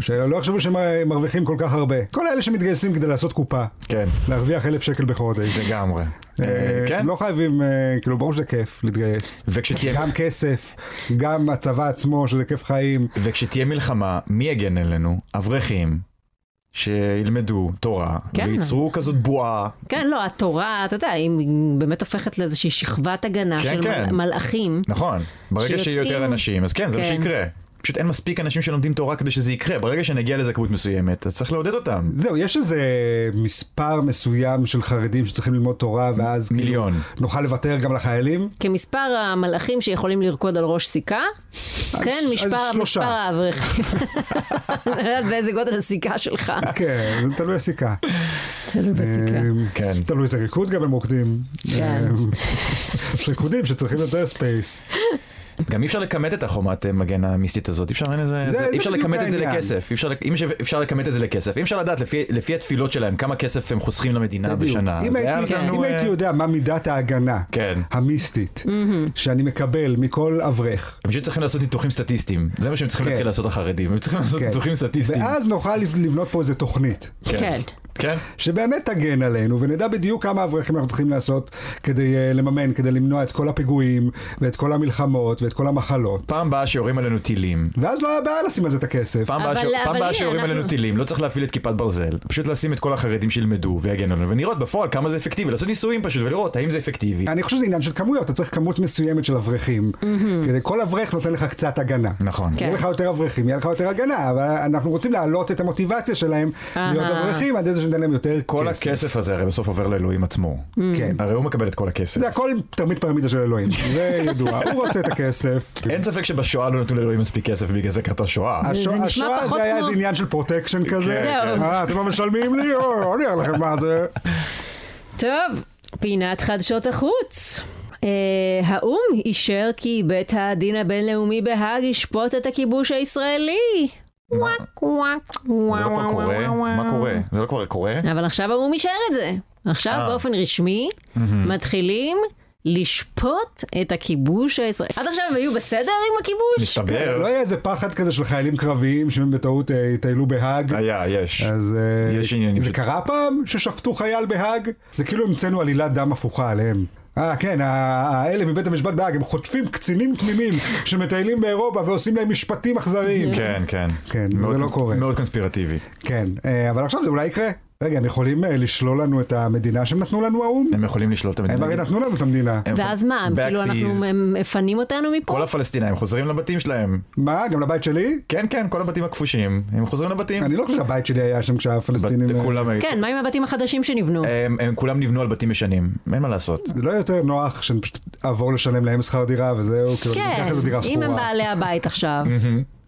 [SPEAKER 1] שלא יחשבו שהם אה, מרוויחים כל כך הרבה. כל אלה שמתגייסים כדי לעשות קופה.
[SPEAKER 3] כן.
[SPEAKER 1] להרוויח אלף שקל בחודש.
[SPEAKER 3] לגמרי. אה,
[SPEAKER 1] אה,
[SPEAKER 3] כן?
[SPEAKER 1] אתם לא חייבים, אה, כאילו, ברור שזה כיף להתגייס.
[SPEAKER 3] וכשתהיה...
[SPEAKER 1] גם כסף, גם הצבא עצמו, שזה כיף חיים.
[SPEAKER 3] וכשתהיה מלחמה, מי יגן עלינו? אברכים שילמדו תורה,
[SPEAKER 2] כן.
[SPEAKER 3] וייצרו כזאת בועה.
[SPEAKER 2] כן, לא, התורה, אתה יודע, היא באמת הופכת לאיזושהי שכבת הגנה
[SPEAKER 3] כן,
[SPEAKER 2] של
[SPEAKER 3] כן.
[SPEAKER 2] מל- מלאכים.
[SPEAKER 3] נכון. ברגע
[SPEAKER 2] שיוצאים-
[SPEAKER 3] שיהיו יותר אנשים, אז כן, זה מה
[SPEAKER 2] כן.
[SPEAKER 3] שיקרה. פשוט אין מספיק אנשים שלומדים תורה כדי שזה יקרה. ברגע שנגיע לזכאות מסוימת, אז צריך לעודד אותם.
[SPEAKER 1] זהו, יש איזה מספר מסוים של חרדים שצריכים ללמוד תורה, ואז כאילו
[SPEAKER 3] מיליון.
[SPEAKER 1] נוכל לוותר גם לחיילים?
[SPEAKER 2] כמספר המלאכים שיכולים לרקוד על ראש סיכה, כן,
[SPEAKER 1] אז
[SPEAKER 2] מספר
[SPEAKER 1] שלושה.
[SPEAKER 2] מספר האברכים. אני לא יודעת באיזה גודל הסיכה שלך.
[SPEAKER 1] כן, זה תלוי הסיכה.
[SPEAKER 2] תלוי בסיכה.
[SPEAKER 1] אה,
[SPEAKER 3] כן.
[SPEAKER 1] תלוי איזה ריקוד גם הם רוקדים.
[SPEAKER 2] כן.
[SPEAKER 1] אה, יש ריקודים שצריכים יותר ספייס.
[SPEAKER 3] גם אי אפשר לכמת את החומת אה, מגן המיסטית הזאת, אי אפשר, אין איזה,
[SPEAKER 1] זה-
[SPEAKER 3] זה,
[SPEAKER 1] זה
[SPEAKER 3] אי אפשר
[SPEAKER 1] בדיוק
[SPEAKER 3] לכמת את זה
[SPEAKER 1] העניין.
[SPEAKER 3] לכסף, אי אפשר, אם ש- אפשר לכמת את זה לכסף, אי אפשר לדעת לפי, לפי התפילות שלהם כמה כסף הם חוסכים למדינה
[SPEAKER 1] בדיוק.
[SPEAKER 3] בשנה.
[SPEAKER 1] אם
[SPEAKER 3] זה היה
[SPEAKER 1] הייתי-
[SPEAKER 3] נתן לנו,
[SPEAKER 1] אם
[SPEAKER 3] אה,
[SPEAKER 1] הייתי יודע מה מידת ההגנה
[SPEAKER 3] כן.
[SPEAKER 1] המיסטית שאני מקבל מכל אברך,
[SPEAKER 3] הם פשוט צריכים לעשות ניתוחים סטטיסטיים, זה מה שהם צריכים
[SPEAKER 1] כן.
[SPEAKER 3] להתחיל לעשות החרדים, הם צריכים לעשות
[SPEAKER 1] כן.
[SPEAKER 3] ניתוחים סטטיסטיים.
[SPEAKER 1] ואז נוכל לבנות פה איזה תוכנית.
[SPEAKER 2] כן.
[SPEAKER 3] כן,
[SPEAKER 1] שבאמת תגן עלינו, ונדע בדיוק כמה אברכים אנחנו צריכים לעשות כדי uh, לממן, כדי למנוע את כל הפיגועים, ואת כל המלחמות, ואת כל המחלות.
[SPEAKER 3] פעם באה שיורים עלינו טילים,
[SPEAKER 1] ואז לא היה בעיה לשים על זה את הכסף.
[SPEAKER 3] פעם
[SPEAKER 2] אבל-
[SPEAKER 3] באה ש-
[SPEAKER 2] אבל
[SPEAKER 3] פעם
[SPEAKER 2] הנה,
[SPEAKER 3] באה שיורים
[SPEAKER 2] אנחנו-
[SPEAKER 3] עלינו טילים, לא צריך להפעיל את כיפת ברזל, פשוט לשים את כל החרדים שילמדו ויגנו עלינו, ולראות בפועל כמה זה אפקטיבי, לעשות ניסויים פשוט ולראות האם זה אפקטיבי.
[SPEAKER 1] אני חושב שזה עניין של כמויות, אתה צריך כמות מסוימת של אברכים. כדי כל אברך נותן לך קצת הגנה.
[SPEAKER 3] נכון.
[SPEAKER 2] כן.
[SPEAKER 1] יהיה לך יותר אברכים, יהיה לך יותר הגנה, אבל אנחנו רוצים להעלות את המוטיבציה שלהם
[SPEAKER 2] אהה.
[SPEAKER 1] להיות אברכים עד איזה שניתן להם יותר
[SPEAKER 3] כל
[SPEAKER 1] כסף.
[SPEAKER 3] הכסף Mm. הזה הרי בסוף עובר לאלוהים עצמו.
[SPEAKER 2] Mm.
[SPEAKER 1] כן.
[SPEAKER 3] הרי הוא מקבל את כל הכסף.
[SPEAKER 1] זה הכל תרמית פירמידה של אלוהים, זה ידוע, הוא רוצה את הכסף.
[SPEAKER 3] אין ספק שבשואה לא נתנו לאלוהים מספיק כסף ובגלל זה קרתה שואה.
[SPEAKER 1] השו-
[SPEAKER 2] זה נשמע
[SPEAKER 1] השואה
[SPEAKER 2] פחות
[SPEAKER 1] זה היה
[SPEAKER 2] כמו-
[SPEAKER 1] איזה עניין של פרוטקשן כזה.
[SPEAKER 3] כן,
[SPEAKER 2] זהו.
[SPEAKER 1] אה, אתם לא משלמים לי? או, אני אראה לכם מה זה.
[SPEAKER 2] טוב, פינת חדשות החוץ. Uh, האו"ם אישר כי בית הדין הבינלאומי בהאג ישפוט את הכיבוש הישראלי. וואק וואק וואו. כן.
[SPEAKER 3] זה לא כבר קורה? מה קורה? אה. זה לא כבר קורה?
[SPEAKER 2] אבל עכשיו האו"ם אישר את זה. עכשיו באופן רשמי מתחילים לשפוט את הכיבוש הישראלי. עד עכשיו הם היו בסדר עם הכיבוש?
[SPEAKER 1] לא
[SPEAKER 3] מסתבר.
[SPEAKER 1] היה איזה פרד כזה של חיילים קרביים שהם בטעות אה, יטיילו בהאג.
[SPEAKER 3] היה, יש.
[SPEAKER 1] אז אה,
[SPEAKER 3] יש עניינים
[SPEAKER 1] זה
[SPEAKER 3] ש-
[SPEAKER 1] קרה פעם ששפטו חייל בהאג? זה כאילו המצאנו עלילת דם הפוכה עליהם. אה כן, ה- האלה מבית המשפט בהאג, הם חוטפים קצינים תמימים שמטיילים באירופה ועושים להם משפטים אכזריים.
[SPEAKER 3] כן, כן.
[SPEAKER 1] כן, זה
[SPEAKER 3] מאוד
[SPEAKER 1] לא
[SPEAKER 3] קונס-
[SPEAKER 1] קורה.
[SPEAKER 3] מאוד קונספירטיבי.
[SPEAKER 1] כן, אה, אבל עכשיו זה אולי יקרה. רגע, הם יכולים אה, לשלול לנו את המדינה שהם נתנו לנו האו"ם?
[SPEAKER 3] הם יכולים לשלול את
[SPEAKER 1] הם הרי
[SPEAKER 3] המדינה.
[SPEAKER 1] נתנו לנו את המדינה.
[SPEAKER 3] הם
[SPEAKER 2] ואז מה,
[SPEAKER 3] יכולים-
[SPEAKER 2] כאילו אנחנו
[SPEAKER 3] Backsies.
[SPEAKER 2] הם מפנים אותנו מפה?
[SPEAKER 3] כל הפלסטינאים חוזרים לבתים שלהם.
[SPEAKER 1] מה, גם לבית שלי?
[SPEAKER 3] כן, כן, כל הבתים הכבושים, הם חוזרים לבתים.
[SPEAKER 1] אני לא חושב שהבית שלי היה שם כשהפלסטינים... אה,
[SPEAKER 3] בת- כולם...
[SPEAKER 2] כן, מה עם הבתים החדשים שנבנו?
[SPEAKER 3] הם- הם כולם נבנו על בתים ישנים, אין מה לעשות.
[SPEAKER 1] זה לא יותר נוח שאני פשוט אעבור לשלם להם שכר דירה וזהו, כאילו, אני
[SPEAKER 2] כן,
[SPEAKER 1] אקח איזה דירה
[SPEAKER 2] אם הם
[SPEAKER 1] שכורה.
[SPEAKER 2] בעלי הבית עכשיו.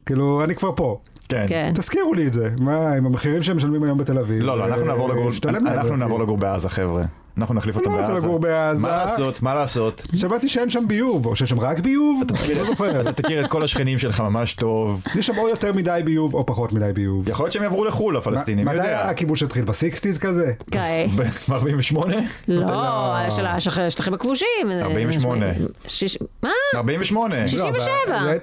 [SPEAKER 1] כאילו, אני כבר פה.
[SPEAKER 3] כן.
[SPEAKER 2] כן.
[SPEAKER 1] תזכירו לי את זה. מה, עם המחירים שהם משלמים היום בתל אביב?
[SPEAKER 3] לא, לא, אנחנו
[SPEAKER 1] אה,
[SPEAKER 3] נעבור לגור
[SPEAKER 1] ישתלם להם.
[SPEAKER 3] אנחנו נעבור לגור בעזה, חבר'ה. אנחנו נחליף
[SPEAKER 1] אני
[SPEAKER 3] אותם
[SPEAKER 1] לא רוצה
[SPEAKER 3] בעזה.
[SPEAKER 1] לגור בעזה.
[SPEAKER 3] מה לעשות, מה לעשות.
[SPEAKER 1] שמעתי שאין שם ביוב, או שיש שם רק ביוב, לא זוכר.
[SPEAKER 3] אתה תכיר את כל השכנים שלך ממש טוב.
[SPEAKER 1] יש שם או יותר מדי ביוב או פחות מדי ביוב.
[SPEAKER 3] יכול להיות שהם יעברו לחו"ל, הפלסטינים,
[SPEAKER 1] מתי
[SPEAKER 3] יודע.
[SPEAKER 1] הכיבוש התחיל? בסיקסטיז כזה?
[SPEAKER 2] אוקיי.
[SPEAKER 3] ב-48?
[SPEAKER 2] לא, של השח- השטחים הכבושים.
[SPEAKER 3] 48.
[SPEAKER 2] שיש- מה?
[SPEAKER 3] 48.
[SPEAKER 1] לא, אבל-
[SPEAKER 2] 67.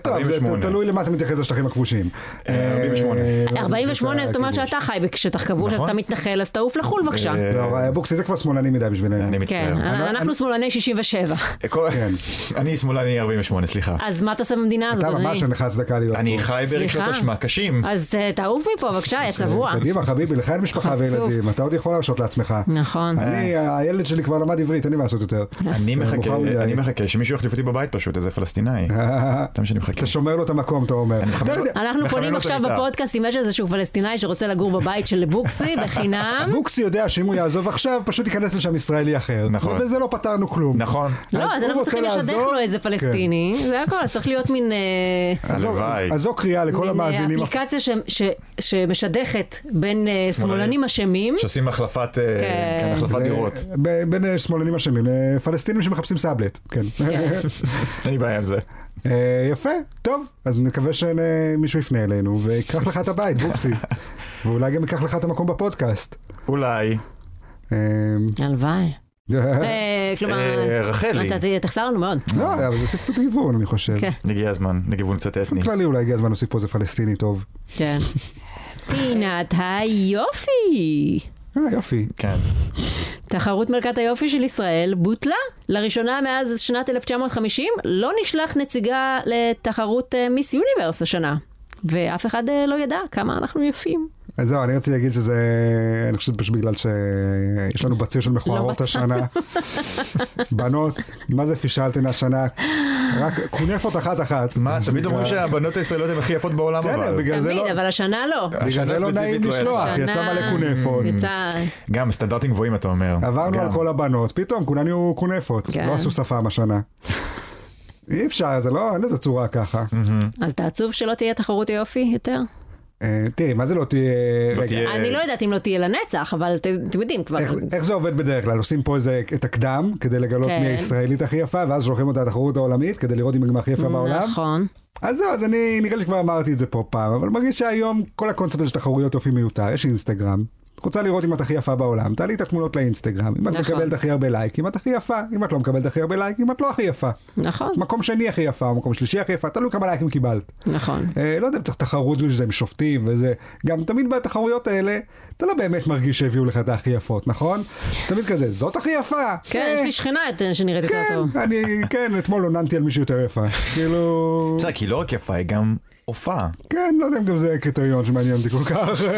[SPEAKER 1] טוב, זה
[SPEAKER 3] 48.
[SPEAKER 1] תלוי למה אתה מתייחס לשטחים הכבושים.
[SPEAKER 3] אה, 48.
[SPEAKER 1] אה,
[SPEAKER 2] 48, זאת אומרת
[SPEAKER 1] הכיבוש.
[SPEAKER 2] שאתה חי בשטח כבוש, אז
[SPEAKER 3] נכון.
[SPEAKER 2] אתה מתנחל, אז תעוף לחו"ל בבקשה.
[SPEAKER 3] אה,
[SPEAKER 1] לא, אבוקסיס זה כבר שמאלני מדי בשבילנו.
[SPEAKER 3] אני
[SPEAKER 2] כן,
[SPEAKER 3] מצטער.
[SPEAKER 2] אנ- אנחנו שמאלני 67.
[SPEAKER 3] כל-
[SPEAKER 1] כן.
[SPEAKER 3] אני שמאלני 48, סליחה.
[SPEAKER 2] אז מה אתה עושה במדינה הזאת,
[SPEAKER 1] אתה ממש
[SPEAKER 2] אדוני?
[SPEAKER 1] אין לך הצדקה להיות
[SPEAKER 3] אני
[SPEAKER 1] פה.
[SPEAKER 3] חי ברגשות
[SPEAKER 2] סליחה?
[SPEAKER 3] אשמה קשים.
[SPEAKER 2] אז אה, תעוף מפה, בבקשה, יא צבוע.
[SPEAKER 1] קדימה חביבי, לך אין משפחה
[SPEAKER 2] חצוף.
[SPEAKER 1] וילדים, אתה עוד יכול להרשות לעצמך.
[SPEAKER 2] נכון.
[SPEAKER 1] אני,
[SPEAKER 3] אה.
[SPEAKER 1] הילד שלי כבר למד עברית, אין לי מה לעשות יותר.
[SPEAKER 3] אני מחכה,
[SPEAKER 1] מאוחר מדי.
[SPEAKER 3] אני מחכה שמישהו יחליף אותי בבית פשוט, איזה פלסטינאי.
[SPEAKER 1] אה,
[SPEAKER 3] סתם שאני מחכה.
[SPEAKER 1] אתה שומר לו את המקום, אתה אומר. אתה יודע,
[SPEAKER 2] אנחנו
[SPEAKER 3] מכוון
[SPEAKER 2] פונים
[SPEAKER 3] אותו
[SPEAKER 2] עכשיו
[SPEAKER 3] לכיתה.
[SPEAKER 2] בפודקאסט אם יש איזשהו פלסטינאי שרוצה לגור בבית של בוקסי בחינם.
[SPEAKER 1] בוקסי יודע שאם הוא יעזוב עכשיו, פשוט ייכנס לשם ישראלי אחר.
[SPEAKER 3] נכון.
[SPEAKER 1] ובזה לא פתרנו כלום.
[SPEAKER 3] נכון.
[SPEAKER 2] לא, אז
[SPEAKER 1] הוא
[SPEAKER 2] אנחנו
[SPEAKER 1] רוצה
[SPEAKER 2] צריכים לשדך
[SPEAKER 1] לעזוב?
[SPEAKER 2] לו איזה פלסטיני, זה הכל, צריך להיות מין אה,
[SPEAKER 1] אז זו-
[SPEAKER 3] הלוואי.
[SPEAKER 1] אז זו קריאה לכל
[SPEAKER 2] מין, אה,
[SPEAKER 1] המאזינים.
[SPEAKER 2] אפליקציה ש- ש- שמשדכת בין אה, שמאלנים אשמים.
[SPEAKER 3] שעושים החלפת אה,
[SPEAKER 2] כן.
[SPEAKER 3] כן, החלפת
[SPEAKER 1] אה,
[SPEAKER 3] דירות.
[SPEAKER 1] ב- בין אה, שמאלנים אשמים לפלסטינים שמחפשים סאבלט, כן.
[SPEAKER 3] אין לי בעיה עם זה.
[SPEAKER 1] אה, יפה, טוב, אז נקווה שמישהו יפנה אלינו ויקח לך את הבית, בוקסי. ואולי גם ייקח לך את המקום בפודקאסט.
[SPEAKER 3] אולי.
[SPEAKER 1] אה,
[SPEAKER 2] הלוואי. אה, כלומר,
[SPEAKER 3] אה, רחלי,
[SPEAKER 2] אתה ת- תחסר לנו מאוד.
[SPEAKER 1] לא, אבל זה עושה קצת גיוון, אני חושב.
[SPEAKER 2] כן.
[SPEAKER 3] הגיע הזמן לגיוון קצת אתני.
[SPEAKER 1] בכללי אולי הגיע הזמן להוסיף פה איזה פלסטיני טוב.
[SPEAKER 2] כן. פינת היופי.
[SPEAKER 1] אה, יופי.
[SPEAKER 3] כן.
[SPEAKER 2] תחרות מלכת היופי של ישראל בוטלה. לראשונה מאז שנת 1950 לא נשלח נציגה לתחרות אה, מיס יוניברס השנה. ואף אחד אה, לא ידע כמה אנחנו יפים.
[SPEAKER 1] אז זהו, אני רציתי להגיד שזה, אני חושב פשוט בגלל שיש לנו בציר של מכוערות
[SPEAKER 2] מצא.
[SPEAKER 1] השנה. בנות, מה זה פישלתן השנה? רק כונפות אחת-אחת.
[SPEAKER 3] מה, תמיד
[SPEAKER 1] שנקרא.
[SPEAKER 3] אומרים שהבנות הישראליות הן הכי יפות בעולם
[SPEAKER 1] בסדר,
[SPEAKER 3] אבל.
[SPEAKER 1] בגלל זה לא...
[SPEAKER 2] תמיד, אבל השנה לא.
[SPEAKER 1] בגלל זה
[SPEAKER 3] השנה
[SPEAKER 1] לא נעים
[SPEAKER 3] ספציפית לא
[SPEAKER 1] לשלוח,
[SPEAKER 2] יצא.
[SPEAKER 1] יצא מלא
[SPEAKER 2] שנה.
[SPEAKER 1] כונפות.
[SPEAKER 2] יצא...
[SPEAKER 3] גם סטנדרטים גבוהים אתה אומר.
[SPEAKER 1] עברנו
[SPEAKER 3] גם.
[SPEAKER 1] על כל הבנות, פתאום כולן יהיו כונפות.
[SPEAKER 2] כן.
[SPEAKER 1] לא עשו שפם השנה. אי אפשר, זה לא, אין לזה צורה ככה.
[SPEAKER 2] אז אתה עצוב שלא תהיה תחרות היופי יותר?
[SPEAKER 1] אה, תראי, מה זה לא תהיה...
[SPEAKER 3] לא
[SPEAKER 1] רגע,
[SPEAKER 3] תהיה-
[SPEAKER 2] אני לא יודעת אם לא תהיה לנצח, אבל אתם אתם יודעים כבר.
[SPEAKER 1] איך- איך זה עובד בדרך כלל? עושים פה איזה, את הקדם, כדי לגלות
[SPEAKER 2] כן.
[SPEAKER 1] מי הישראלית הכי יפה, ואז שולחים אותה לתחרות העולמית, כדי לראות אם היא גם הכי יפה בעולם.
[SPEAKER 2] נכון.
[SPEAKER 1] אז זהו, אז אני, נראה לי שכבר אמרתי את זה פה פעם, אבל מרגיש שהיום כל הקונספט של תחרויות אופי מיותר, יש אינסטגרם. את רוצה לראות אם את הכי יפה בעולם, תעלי את התמונות לאינסטגרם. אם את
[SPEAKER 2] נכון.
[SPEAKER 1] מקבלת הכי הרבה לייקים, את הכי יפה. אם את לא מקבלת הכי הרבה לייקים, את לא הכי יפה.
[SPEAKER 2] נכון,
[SPEAKER 1] מקום שני הכי יפה, או מקום שלישי הכי יפה, תלוי כמה לייקים קיבלת.
[SPEAKER 2] נכון.
[SPEAKER 1] אה, לא יודע אם צריך תחרות בשביל זה עם שופטים וזה. גם תמיד בתחרויות האלה, אתה לא באמת מרגיש שהביאו לך את הכי יפות, נכון? תמיד כזה, זאת הכי יפה.
[SPEAKER 2] כן,
[SPEAKER 1] אה,
[SPEAKER 2] יש לי שכנה יותר- שנראית יותר
[SPEAKER 1] כן,
[SPEAKER 2] טוב.
[SPEAKER 1] אני, כן, אתמול עוננתי על מישהי יותר יפה. כאילו...
[SPEAKER 3] בסדר, כי היא לא רק יפה, היא גם הופעה.
[SPEAKER 1] כן, לא יודע אם גם זה קריטריון שמעניין אותי כל כך.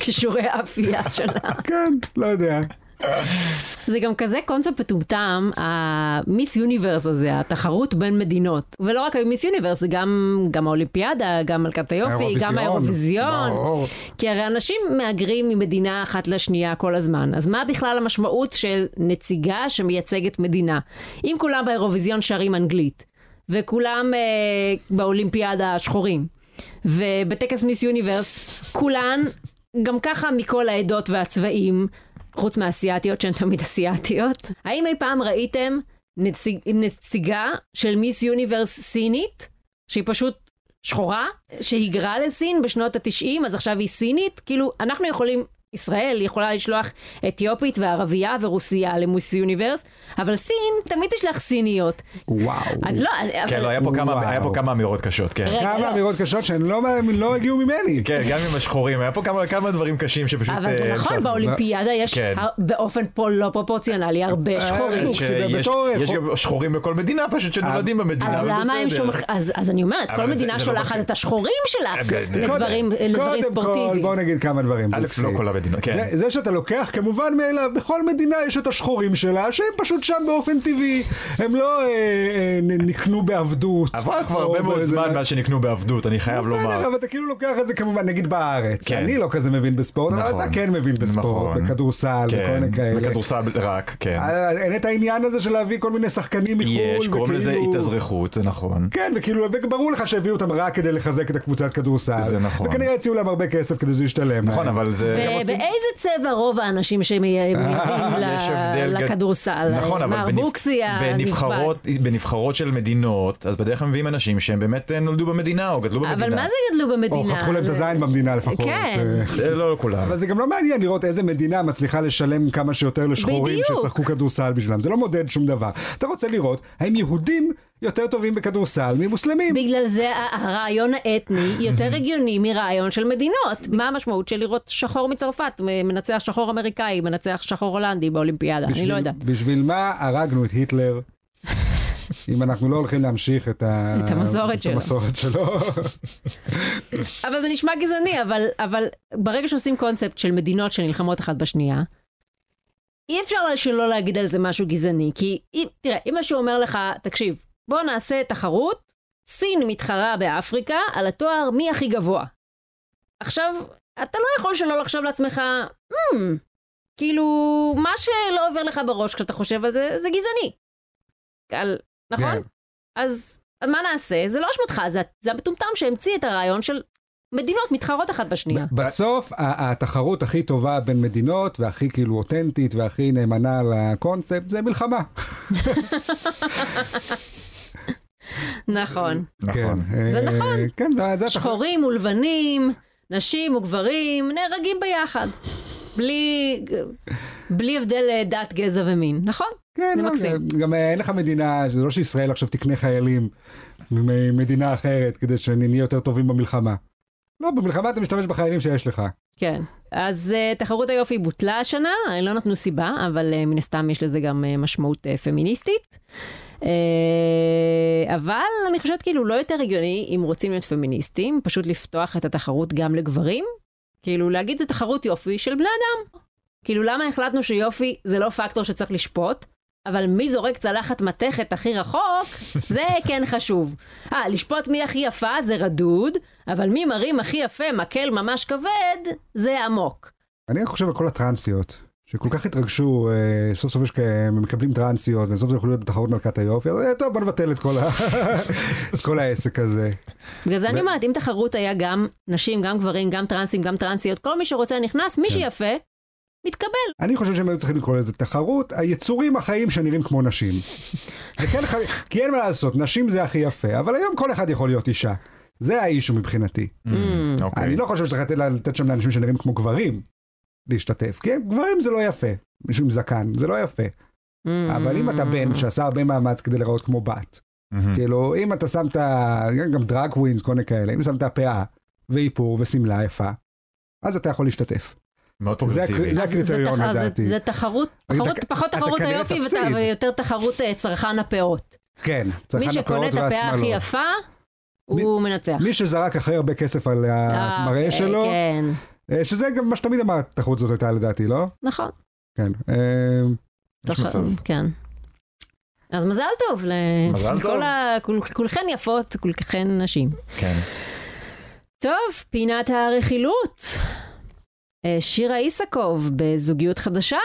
[SPEAKER 2] כישורי האפייה שלה.
[SPEAKER 1] כן, לא יודע.
[SPEAKER 2] זה גם כזה קונספט מטומטם, המיס יוניברס הזה, התחרות בין מדינות. ולא רק מיס יוניברס, זה גם, גם האולימפיאדה, גם מלכת היופי, גם האירוויזיון.
[SPEAKER 1] ברור.
[SPEAKER 2] כי הרי אנשים מהגרים ממדינה אחת לשנייה כל הזמן, אז מה בכלל המשמעות של נציגה שמייצגת מדינה? אם כולם באירוויזיון שרים אנגלית, וכולם אה, באולימפיאדה שחורים, ובטקס מיס יוניברס, כולן, גם ככה מכל העדות והצבעים, חוץ מהאסיאתיות שהן תמיד אסיאתיות, האם אי פעם ראיתם נציג, נציגה של מיס יוניברס סינית, שהיא פשוט שחורה, שהיגרה לסין בשנות התשעים, אז עכשיו היא סינית? כאילו, אנחנו יכולים, ישראל יכולה לשלוח אתיופית וערבייה ורוסיה למוס יוניברס, אבל סין תמיד תשלח סיניות.
[SPEAKER 1] וואו.
[SPEAKER 2] אני- לא, אני-
[SPEAKER 3] כן,
[SPEAKER 2] אבל...
[SPEAKER 3] לא, היה פה כמה-
[SPEAKER 1] וואו.
[SPEAKER 3] היה פה כמה אמירות קשות, כן.
[SPEAKER 2] רגע, לא.
[SPEAKER 1] כמה אמירות קשות שהן לא לא הגיעו ממני.
[SPEAKER 3] כן, גם עם השחורים, היה פה כמה- כמה דברים קשים שפשוט...
[SPEAKER 2] אבל זה
[SPEAKER 3] אה,
[SPEAKER 2] נכון,
[SPEAKER 3] אפשר-
[SPEAKER 2] באולימפיאדה יש
[SPEAKER 3] כן. אה,
[SPEAKER 2] הר- באופן פה לא פרופורציונלי הרבה שחורים.
[SPEAKER 1] בדיוק,
[SPEAKER 3] שיש-
[SPEAKER 1] זה בתורף.
[SPEAKER 3] יש גם שחורים בכל מדינה פשוט שנולדים במדינה.
[SPEAKER 2] אז
[SPEAKER 3] אבל
[SPEAKER 2] למה הם
[SPEAKER 3] בסדר.
[SPEAKER 2] שומרים, אז אז אני אומרת, כל
[SPEAKER 3] אבל זה-
[SPEAKER 2] מדינה
[SPEAKER 3] זה לא
[SPEAKER 2] שולחת
[SPEAKER 3] מפחיד.
[SPEAKER 2] את השחורים שלה
[SPEAKER 3] אה, זה- זה-
[SPEAKER 2] לדברים לדברים
[SPEAKER 1] קודם כל,
[SPEAKER 2] ספורטיביים.
[SPEAKER 1] בואו נגיד כמה דברים.
[SPEAKER 3] א',
[SPEAKER 1] בוקסי.
[SPEAKER 3] לא כל המדינות, כן.
[SPEAKER 1] זה- זה שאתה לוקח כמובן מאליו, בכל מדינה יש את השחורים שלה, שהם פשוט שם באופן טבעי. הם לא אה, אה, נ- נקנו בעבדות.
[SPEAKER 3] עבר כבר
[SPEAKER 1] או
[SPEAKER 3] הרבה מאוד
[SPEAKER 1] באיזה-
[SPEAKER 3] זמן מאז שנקנו בעבדות, אני חייב
[SPEAKER 1] בסדר,
[SPEAKER 3] לומר.
[SPEAKER 1] אבל אתה כאילו לוקח את זה כמובן, נגיד בארץ.
[SPEAKER 3] כן.
[SPEAKER 1] אני לא כזה מבין בספורט, אבל
[SPEAKER 3] נכון.
[SPEAKER 1] אתה כן מבין בספורט,
[SPEAKER 3] נכון.
[SPEAKER 1] בכדורסל, בכל
[SPEAKER 3] כן,
[SPEAKER 1] מיני כאלה.
[SPEAKER 3] בכדורסל רק, כן.
[SPEAKER 1] אה, אין את העניין הזה של להביא כל מיני שחקנים מחו"ל,
[SPEAKER 3] יש, קוראים לזה
[SPEAKER 1] וכאילו-
[SPEAKER 3] התאזרחות, זה נכון.
[SPEAKER 1] כן, וכאילו, וברור לך שהביאו אותם רק כדי לחזק את הקבוצת כדורסל.
[SPEAKER 3] זה נכון.
[SPEAKER 1] וכנראה הציעו להם הרבה כסף כדי שזה ישתלם.
[SPEAKER 3] נכון,
[SPEAKER 1] להם.
[SPEAKER 3] אבל זה...
[SPEAKER 1] הם רוצים
[SPEAKER 2] באיזה צבע רוב האנשים שמייבאים ל-
[SPEAKER 3] אה, יש הבדל גד-
[SPEAKER 2] לכדורסל?
[SPEAKER 3] נכון, אבל בנבח-
[SPEAKER 2] מרבוקסי הנכבד.
[SPEAKER 3] בנבחרות- בנבחרות של מדינות, אז בדרך כלל מביאים אנשים שהם באמת אה, נולדו במדינה או גדלו במדינה.
[SPEAKER 2] אבל מה זה גדלו
[SPEAKER 1] או
[SPEAKER 2] במדינה?
[SPEAKER 1] חתכו להם את
[SPEAKER 2] זה-
[SPEAKER 1] הזין במדינה לפחות.
[SPEAKER 2] כן.
[SPEAKER 1] אה,
[SPEAKER 3] זה לא לכולם.
[SPEAKER 1] אבל זה גם לא מעניין לראות איזה מדינה מצליחה לשלם כמה שיותר לשחורים
[SPEAKER 2] בדיוק.
[SPEAKER 1] ששחקו כדורסל בשבילם. זה לא מודד שום דבר. אתה רוצה לראות האם יהודים יותר טובים בכדורסל ממוסלמים.
[SPEAKER 2] בגלל זה ה- הרעיון האתני יותר הגיוני מרעיון של מדינות. מה המשמעות של לראות שחור מצרפת, מ- מנצח שחור אמריקאי, מנצח שחור הולנדי באולימפיאדה? אני
[SPEAKER 1] בשביל-
[SPEAKER 2] לא יודעת.
[SPEAKER 1] בשביל מה הרגנו את היטלר? אם אנחנו לא הולכים להמשיך את, ה...
[SPEAKER 2] את המסורת
[SPEAKER 1] את
[SPEAKER 2] שלו.
[SPEAKER 1] המסורת שלו.
[SPEAKER 2] אבל זה נשמע גזעני, אבל, אבל ברגע שעושים קונספט של מדינות שנלחמות אחת בשנייה, אי אפשר שלא להגיד על זה משהו גזעני, כי אם, תראה, אם מישהו אומר לך, תקשיב, בוא נעשה תחרות, סין מתחרה באפריקה על התואר מי הכי גבוה. עכשיו, אתה לא יכול שלא לחשוב לעצמך, hmm, כאילו, מה שלא עובר לך בראש כשאתה חושב על זה, זה גזעני. על, נכון?
[SPEAKER 1] כן.
[SPEAKER 2] אז אז מה נעשה? זה לא אשמתך, זה, זה המטומטם שהמציא את הרעיון של מדינות מתחרות אחת בשנייה.
[SPEAKER 1] בסוף ה- התחרות הכי טובה בין מדינות והכי כאילו אותנטית והכי נאמנה לקונספט זה מלחמה.
[SPEAKER 2] נכון.
[SPEAKER 3] נכון.
[SPEAKER 1] כן,
[SPEAKER 2] זה
[SPEAKER 1] אה,
[SPEAKER 2] נכון.
[SPEAKER 1] כן, זה, זה התחרות.
[SPEAKER 2] שחורים ולבנים, נשים וגברים, נהרגים ביחד. בלי, בלי הבדל אה, דת, גזע ומין, נכון?
[SPEAKER 1] כן,
[SPEAKER 2] זה
[SPEAKER 1] לא,
[SPEAKER 2] מקסים.
[SPEAKER 1] זה- גם אה, אין לך מדינה, זה לא שישראל עכשיו תקנה חיילים ממדינה אחרת כדי שנהיה יותר טובים במלחמה. לא, במלחמה אתה משתמש בחיילים שיש לך.
[SPEAKER 2] כן. אז uh, תחרות היופי בוטלה השנה, אה, לא נתנו סיבה, אבל uh, מן הסתם יש לזה גם uh, משמעות uh, פמיניסטית. Uh, אבל אני חושבת כאילו לא יותר הגיוני אם רוצים להיות פמיניסטים, פשוט לפתוח את התחרות גם לגברים. כאילו להגיד זה תחרות יופי של בני אדם. כאילו למה החלטנו שיופי זה לא פקטור שצריך לשפוט, אבל מי זורק צלחת מתכת הכי רחוק, זה כן חשוב. אה, לשפוט מי הכי יפה זה רדוד, אבל מי מרים הכי יפה מקל ממש כבד, זה עמוק.
[SPEAKER 1] אני חושב על כל הטרנסיות, שכל כך התרגשו, אה, סוף סוף יש כאלה, מקבלים טרנסיות, ובסוף זה יכול להיות בתחרות מלכת היופי, אז אה, טוב, בוא נבטל את כל, ה... את כל העסק הזה.
[SPEAKER 2] בגלל זה אני
[SPEAKER 3] ו-
[SPEAKER 2] אומרת, אם תחרות היה גם נשים, גם גברים, גם טרנסים, גם טרנסיות, כל מי שרוצה נכנס,
[SPEAKER 1] כן.
[SPEAKER 2] מי שיפה, מתקבל.
[SPEAKER 1] אני חושב שהם היו צריכים לקרוא לזה תחרות היצורים החיים שנראים כמו נשים. זה כן ח... כי אין מה לעשות, נשים זה הכי יפה, אבל היום כל אחד יכול להיות אישה. זה האישו מבחינתי.
[SPEAKER 2] Mm.
[SPEAKER 3] אוקיי.
[SPEAKER 1] אני לא חושב שצריך לתת, לתת שם לאנשים שנראים כמו גברים להשתתף, כי הם- גברים זה לא יפה. מישהו עם זקן, זה לא יפה.
[SPEAKER 2] Mm.
[SPEAKER 1] אבל אם אתה בן שעשה הרבה מאמץ כדי להיראות כמו בת,
[SPEAKER 2] Mm.
[SPEAKER 3] מהמם.
[SPEAKER 1] כאילו, אם אתה שם את ה... גם דרג ווינס, כל מיני כאלה, אם שמת פאה ואיפור ושמלה יפה, אז אתה יכול להשתתף.
[SPEAKER 3] מאוד
[SPEAKER 1] זה
[SPEAKER 3] פרוגרסיבי.
[SPEAKER 1] הקרי-
[SPEAKER 2] אז זה
[SPEAKER 1] הקריטריון,
[SPEAKER 2] תח- אז זה-
[SPEAKER 1] לדעתי.
[SPEAKER 2] זה תחרות,
[SPEAKER 1] אתה-
[SPEAKER 2] פחות-
[SPEAKER 1] אתה-
[SPEAKER 2] פחות
[SPEAKER 1] אתה
[SPEAKER 2] תחרות
[SPEAKER 1] כנראה
[SPEAKER 2] היופי ות-
[SPEAKER 1] תפסיד.
[SPEAKER 2] ויותר תחרות אה, צרכן הפאות.
[SPEAKER 1] כן, צרכן
[SPEAKER 2] מי שקונה
[SPEAKER 1] הפאות
[SPEAKER 2] את הפאה הכי
[SPEAKER 1] והשמלות.
[SPEAKER 2] יפה, הוא מנצח.
[SPEAKER 1] מי שזרק הכי הרבה כסף על
[SPEAKER 2] אה,
[SPEAKER 1] המראה
[SPEAKER 2] אוקיי,
[SPEAKER 1] שלו,
[SPEAKER 2] כן,
[SPEAKER 1] אה, שזה גם מה שתמיד אמרת, התחרות הזאת הייתה לדעתי, לא?
[SPEAKER 2] נכון.
[SPEAKER 1] כן. אה,
[SPEAKER 3] יש
[SPEAKER 2] תח-
[SPEAKER 3] מצב.
[SPEAKER 2] כן. אז מזל טוב. ל-
[SPEAKER 3] מזל
[SPEAKER 2] לכל
[SPEAKER 3] טוב.
[SPEAKER 2] ה- כול- כולכן יפות, כולכן נשים.
[SPEAKER 3] כן.
[SPEAKER 2] טוב, פינת הרכילות. אה, שירה איסקוב בזוגיות חדשה,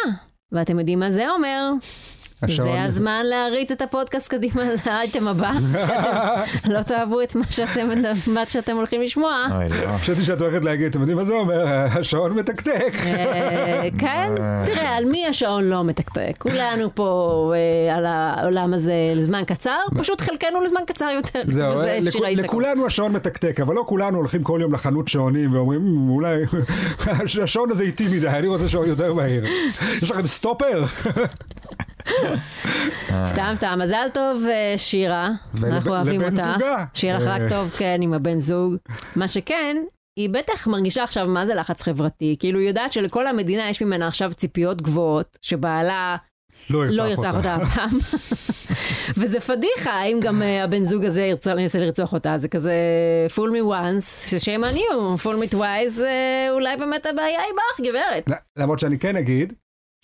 [SPEAKER 2] ואתם יודעים מה זה אומר.
[SPEAKER 1] השעון.
[SPEAKER 2] זה הזמן להריץ את הפודקאסט קדימה לאייטם הבא. שאתם לא תאהבו את מה שאתם, מה שאתם הולכים לשמוע.
[SPEAKER 3] אוי, לא.
[SPEAKER 2] כן.
[SPEAKER 1] חשבתי שאת הולכת להגיד, אתם יודעים מה זה אומר? השעון מתקתק.
[SPEAKER 2] אה, כן, תראה, על מי השעון לא מתקתק? כולנו פה אה, על העולם הזה לזמן קצר, פשוט חלקנו לזמן קצר יותר.
[SPEAKER 1] זהו,
[SPEAKER 2] וזה
[SPEAKER 1] אה, לכו-
[SPEAKER 2] שירה איסקוב.
[SPEAKER 1] לכולנו השעון מתקתק, אבל לא כולנו הולכים כל יום לחנות שעונים ואומרים, "מ, אולי השעון הזה איטי מדי, אני רוצה שעון יותר מהיר. יש לכם סטופר?
[SPEAKER 2] סתם, סתם, מזל טוב, אה, שירה.
[SPEAKER 1] ול-
[SPEAKER 2] אנחנו אוהבים
[SPEAKER 1] לבן
[SPEAKER 2] אותה.
[SPEAKER 1] זוגה.
[SPEAKER 2] שיהיה לך
[SPEAKER 1] אה.
[SPEAKER 2] רק טוב, כן, עם הבן זוג. מה שכן, היא בטח מרגישה עכשיו מה זה לחץ חברתי. כאילו, היא יודעת שלכל המדינה יש ממנה עכשיו ציפיות גבוהות, שבעלה לא ירצח אותה הפעם. וזה פדיחה, האם גם אה, הבן זוג הזה ירצה- ינסה לרצוח אותה. זה כזה full me once, ששם on you, full me twice, אה, אולי באמת הבעיה היא בך, גברת.
[SPEAKER 1] ל- למרות שאני כן אגיד,